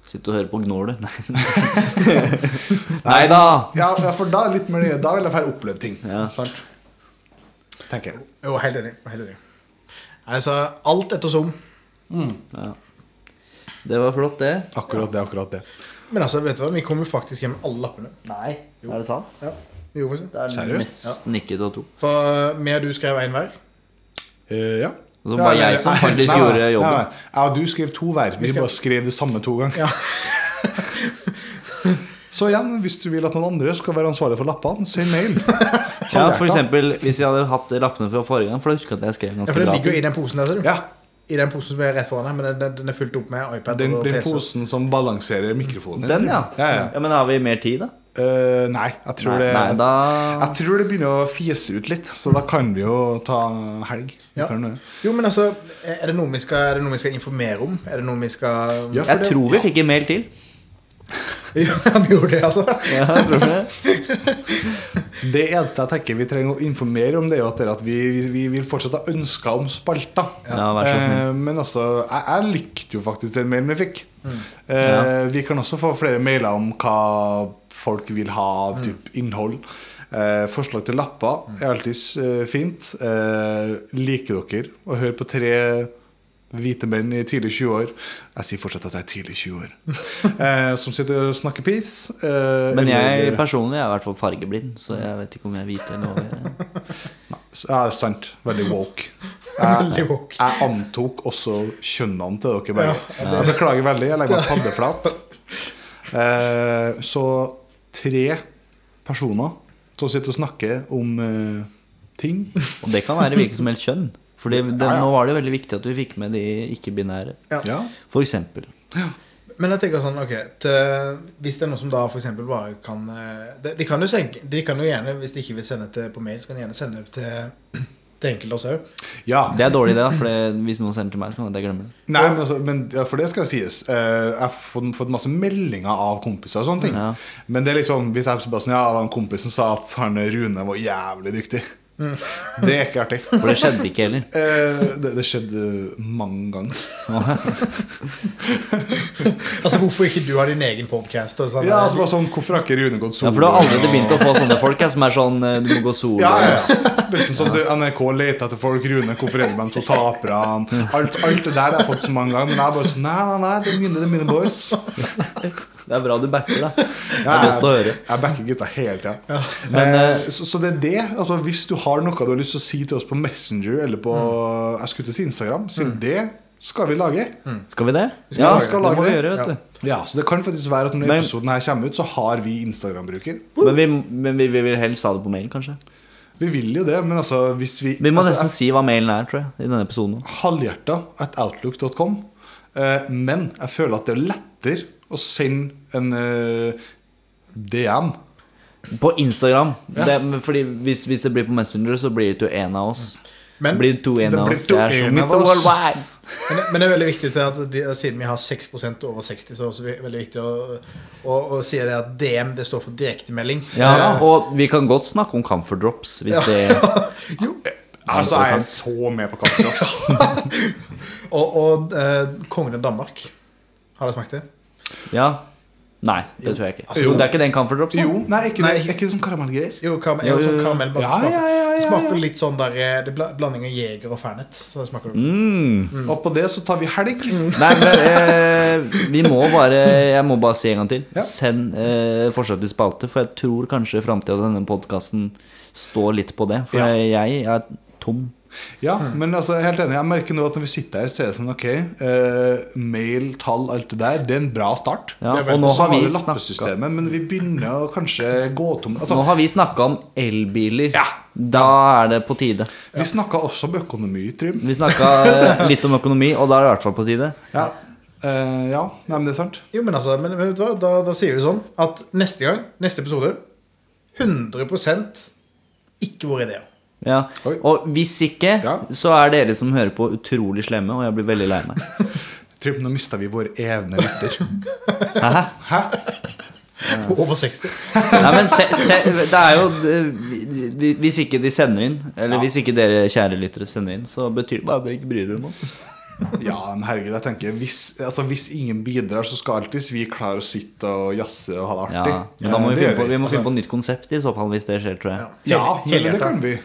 [SPEAKER 2] Sitte og høre på gnål, du. Nei da!
[SPEAKER 3] Ja, ja, for da er det litt mer nøye. Da vil jeg dra oppleve ting.
[SPEAKER 2] Ja.
[SPEAKER 3] Sant? Tenker jeg.
[SPEAKER 1] Jo, helt enig. Helt enig. Altså, alt etter som.
[SPEAKER 2] Ja. Det var flott, det.
[SPEAKER 3] Akkurat det, akkurat det.
[SPEAKER 1] Men altså, vet du hva? vi kommer faktisk hjem med alle lappene.
[SPEAKER 2] Nei,
[SPEAKER 1] Jo.
[SPEAKER 2] er det sant?
[SPEAKER 1] Ja, vi gjorde faktisk det.
[SPEAKER 2] Det er
[SPEAKER 3] Seriøst?
[SPEAKER 2] nesten ikke til å tro.
[SPEAKER 1] For meg og du skrev én hver.
[SPEAKER 3] Eh, ja.
[SPEAKER 2] Og så var
[SPEAKER 3] Ja,
[SPEAKER 2] jeg som
[SPEAKER 3] nei,
[SPEAKER 2] faktisk
[SPEAKER 3] nei, nei,
[SPEAKER 2] gjorde jobben.
[SPEAKER 3] nei, nei. Jeg og du skrev to hver. Vi
[SPEAKER 1] skrev-
[SPEAKER 3] bare skrev det samme to ganger.
[SPEAKER 1] Ja.
[SPEAKER 3] Så igjen, hvis du vil at noen andre skal være ansvarlig for lappene, send mail.
[SPEAKER 2] Ja, for eksempel, Hvis jeg hadde hatt lappene fra forrige gang For da husker jeg at jeg skrev
[SPEAKER 1] Ja,
[SPEAKER 2] ganske
[SPEAKER 1] for Den
[SPEAKER 2] bra.
[SPEAKER 1] ligger jo i den posen der, ser du.
[SPEAKER 3] Ja,
[SPEAKER 1] I den posen som er rett foran her, men den, den, den er fylt opp med iPad
[SPEAKER 3] den,
[SPEAKER 1] og
[SPEAKER 3] den
[SPEAKER 1] PC.
[SPEAKER 3] posen som balanserer mikrofonen.
[SPEAKER 2] Den, ja.
[SPEAKER 3] ja, ja.
[SPEAKER 2] ja. Men har vi mer tid, da?
[SPEAKER 3] Eh, nei, jeg tror,
[SPEAKER 2] Nei,
[SPEAKER 3] det,
[SPEAKER 2] nei, da
[SPEAKER 3] jeg tror det begynner å fiese ut litt, så da kan vi jo ta helg. Vi
[SPEAKER 1] Ja.
[SPEAKER 3] kan jo det.
[SPEAKER 1] Jo, men altså, er det, noe vi skal, er det noe vi skal informere om? Er det noe vi skal
[SPEAKER 3] Ja, for
[SPEAKER 2] Jeg
[SPEAKER 3] det-
[SPEAKER 2] tror vi fikk en mail til.
[SPEAKER 1] Ja, vi gjorde det, altså.
[SPEAKER 2] Ja, jeg tror det.
[SPEAKER 3] Det eneste jeg tenker vi trenger å informere om, det er jo at, det er at vi, vi, vi vil fortsatt ha ønsker om spalta.
[SPEAKER 2] Ja, vær så snill.
[SPEAKER 3] Eh, men altså, jeg, jeg likte jo faktisk den mailen vi fikk. Eh, Vi kan også få flere mailer om hva folk vil ha av typ innhold. Eh, forslag til lapper er alltid eh, fint. Eh, liker dere å høre på tre hvite menn i tidlig 20 år Jeg sier fortsatt at jeg er tidlig 20 år. Eh, som sitter og snakker piss. Eh,
[SPEAKER 2] Men jeg
[SPEAKER 3] eller-
[SPEAKER 2] personlig er i hvert fall fargeblind, så jeg vet ikke om jeg vet eller noe.
[SPEAKER 3] Ja, det er sant. Veldig woke.
[SPEAKER 1] Veldig woke.
[SPEAKER 3] Jeg antok også kjønnene til dere begge.
[SPEAKER 1] Ja,
[SPEAKER 3] Jeg beklager veldig. Jeg legger meg paddeflat. Eh, så tre personer som sitter og snakker om eh, ting.
[SPEAKER 2] Og det kan være hvilket som helst kjønn. For det, det,
[SPEAKER 3] Ja, ja.
[SPEAKER 2] nå var det veldig viktig at vi fikk med de ikke-binære.
[SPEAKER 3] Ja.
[SPEAKER 2] For eksempel.
[SPEAKER 1] Men jeg tenker sånn, ok til, Hvis det er noen som da for eksempel bare kan eh, de, de, kan jo senke, de kan jo gjerne, hvis de ikke vil sende til på mail, så kan de gjerne sende det til, til enkelte også.
[SPEAKER 3] ja.
[SPEAKER 2] Det er dårlig, det. da, For det, hvis noen sender til meg, så kan jeg glemme det.
[SPEAKER 3] Nei, men, altså, men ja, For det skal sies. Eh, jeg har fått, fått masse meldinger av kompiser og sånne ting.
[SPEAKER 2] Ja.
[SPEAKER 3] Men det er liksom hvis jeg bare sånn, ja, det var en kompis som sa at han Rune var jævlig dyktig.
[SPEAKER 1] Mm.
[SPEAKER 3] Det er ikke artig.
[SPEAKER 2] For det skjedde ikke heller.
[SPEAKER 3] Eh, det, det skjedde mange ganger.
[SPEAKER 1] Altså, hvorfor ikke du har din egen podkast? Sånn,
[SPEAKER 3] Ja, altså bare sånn, Hvorfor har ikke Rune gått solo?
[SPEAKER 2] Ja, for du har aldri begynt å få sånne folk her, som er sånn eh, Du må gå solo.
[SPEAKER 3] ja, ja, ja. Liksom sånn, du, NRK leter etter folk, Rune, hvorfor er det med de to taperne? Alt, alt det der har jeg fått så mange ganger, men jeg er bare sånn Nei, nei, nei, det er mine, det er mine boys.
[SPEAKER 2] Det er bra du backer, da. Det
[SPEAKER 3] Ja,
[SPEAKER 2] er godt å høre.
[SPEAKER 3] Jeg backer gutta hele tida.
[SPEAKER 2] Men,
[SPEAKER 3] eh, så, så det er det. Altså, hvis du har noe du har lyst til å si til oss på Messenger eller på jeg skulle til å si Instagram, siden det skal vi lage.
[SPEAKER 2] Skal vi det?
[SPEAKER 3] skal
[SPEAKER 2] ja,
[SPEAKER 3] lage- skal
[SPEAKER 2] det
[SPEAKER 3] lage
[SPEAKER 2] må vi
[SPEAKER 3] det.
[SPEAKER 2] gjøre, vet
[SPEAKER 1] Ja.
[SPEAKER 2] du.
[SPEAKER 3] Ja, Så det kan faktisk være at når
[SPEAKER 2] Men-
[SPEAKER 3] episoden her kommer ut, så har vi Instagram-bruker.
[SPEAKER 2] Men, vi, men vi, vi vil helst ha det på mail, kanskje.
[SPEAKER 3] Vi vil jo det, men altså hvis vi
[SPEAKER 2] Vi må
[SPEAKER 3] altså,
[SPEAKER 2] nesten si hva mailen er, tror jeg. I denne episoden.
[SPEAKER 3] halvhjerta at outlook.com. Eh, men jeg føler at det er lettere å sende en eh, DM.
[SPEAKER 2] På Instagram. Det, men fordi hvis, hvis det blir på Messenger, så blir det jo en av oss.
[SPEAKER 1] men,
[SPEAKER 2] blir det to en
[SPEAKER 3] det
[SPEAKER 2] av
[SPEAKER 3] blir
[SPEAKER 2] oss.
[SPEAKER 3] to
[SPEAKER 2] Jeg er så
[SPEAKER 3] en av
[SPEAKER 2] Mr.
[SPEAKER 3] oss.
[SPEAKER 2] Worldwide.
[SPEAKER 1] men, men det er veldig viktig til at de, siden vi har 6 over 60, så er det også ve- veldig viktig å, å, å si det at DM det står for direktemelding.
[SPEAKER 2] Ja, og vi kan godt snakke om comfort drops, hvis det
[SPEAKER 1] Eh, Jo,
[SPEAKER 3] Altså, jeg er
[SPEAKER 2] interessant.
[SPEAKER 3] så med på Kaffedrops.
[SPEAKER 1] og og eh, kongen av Danmark. Har dere smakt det?
[SPEAKER 2] Ja. Nei, det tror jeg ikke.
[SPEAKER 1] Altså,
[SPEAKER 2] det er ikke den comfort drops? da?
[SPEAKER 3] jo, nei, ikke,
[SPEAKER 1] Nei.
[SPEAKER 3] Det, ikke sånn karamellgreier.
[SPEAKER 1] Jo, karam
[SPEAKER 2] Jo, jo, jo.
[SPEAKER 1] sånn karamell bare
[SPEAKER 3] Ja,
[SPEAKER 1] smaker,
[SPEAKER 3] ja, ja, ja,
[SPEAKER 1] smaker
[SPEAKER 3] ja.
[SPEAKER 1] litt sånn der eh, Det er bla- blanding av jeger og fernet. Så smaker det
[SPEAKER 2] Mm.
[SPEAKER 3] Og på det så tar vi helg.
[SPEAKER 2] Nei, men eh, vi må bare Jeg må bare si en gang til.
[SPEAKER 3] Ja.
[SPEAKER 2] Send eh, forslag til spalte, for jeg tror kanskje framtida til denne podkasten står litt på det. For
[SPEAKER 3] Ja.
[SPEAKER 2] jeg er tom
[SPEAKER 3] Ja, men altså, jeg er helt enig. Jeg merker nå at når vi sitter her, så er det sånn ok, eh, mail, tall, alt det der, det er en bra start.
[SPEAKER 2] Ja,
[SPEAKER 1] Det er vel-
[SPEAKER 2] og nå
[SPEAKER 3] Og så
[SPEAKER 2] har vi
[SPEAKER 3] vi
[SPEAKER 2] snakka
[SPEAKER 3] lappesystemet, men vi begynner å kanskje gå tom altså,
[SPEAKER 2] Nå har vi snakket om elbiler.
[SPEAKER 3] Ja.
[SPEAKER 2] Da er det på tide.
[SPEAKER 3] Vi snakka også om økonomi, Trym.
[SPEAKER 2] Vi snakka eh, litt om økonomi, og da er det i hvert fall på tide.
[SPEAKER 3] Ja. Eh, ja. Nei, men det er sant.
[SPEAKER 1] Jo, men altså, men, men vet du hva? Da, da sier vi sånn at neste gang, neste episode 100 ikke våre ideer.
[SPEAKER 2] Ja.
[SPEAKER 3] Oi.
[SPEAKER 2] Og hvis ikke,
[SPEAKER 3] Ja.
[SPEAKER 2] så er dere som hører på, utrolig slemme, og jeg blir veldig lei meg.
[SPEAKER 3] Trym, nå mista vi vår evne lytter.
[SPEAKER 2] Hæ?
[SPEAKER 1] Over 60.
[SPEAKER 2] Nei, men se, se, det er jo eh, vi- vi- Hvis ikke de sender inn, eller hvis ikke dere kjære lyttere sender inn, så betyr det bare at dere ikke bryr dere om oss.
[SPEAKER 3] Ja, men herregud, jeg tenker hvis, altså, hvis ingen bidrar, så skal alltids vi klare å sitte og jazze og ha det artig.
[SPEAKER 2] Ja, men da må vi,
[SPEAKER 3] Eh, det
[SPEAKER 2] finne
[SPEAKER 3] gjør
[SPEAKER 2] på, vi Altså- må finne på nytt konsept i så fall, hvis det skjer, tror jeg.
[SPEAKER 3] Ja, men det
[SPEAKER 1] Helhjerta.
[SPEAKER 3] kan vi.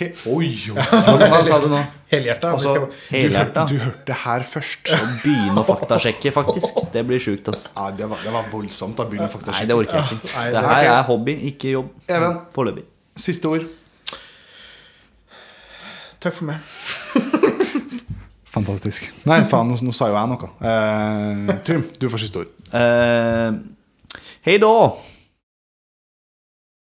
[SPEAKER 3] He Oi, jo.
[SPEAKER 2] Hva sa du nå?
[SPEAKER 1] Helhjerta.
[SPEAKER 3] Altså,
[SPEAKER 1] vi skal,
[SPEAKER 3] du, hør-
[SPEAKER 2] altså, Helhjerta.
[SPEAKER 3] du hørte det her først.
[SPEAKER 2] Begynne å faktasjekke, faktisk. Det blir sjukt, ass.
[SPEAKER 3] Ja, det, var, det var voldsomt. Da begynner jeg faktisk å
[SPEAKER 2] Nei,
[SPEAKER 3] sjekke.
[SPEAKER 2] det orker jeg ikke.
[SPEAKER 1] Nei,
[SPEAKER 2] Det
[SPEAKER 1] det-
[SPEAKER 2] her er hobby, ikke jobb.
[SPEAKER 3] Even.
[SPEAKER 2] Foreløpig.
[SPEAKER 3] Siste ord.
[SPEAKER 1] takk for meg.
[SPEAKER 3] Fantastisk. Nei, faen, nå, nå sa jo jeg noe. Eh, Trym, du får siste ord.
[SPEAKER 2] Eh, Hei da!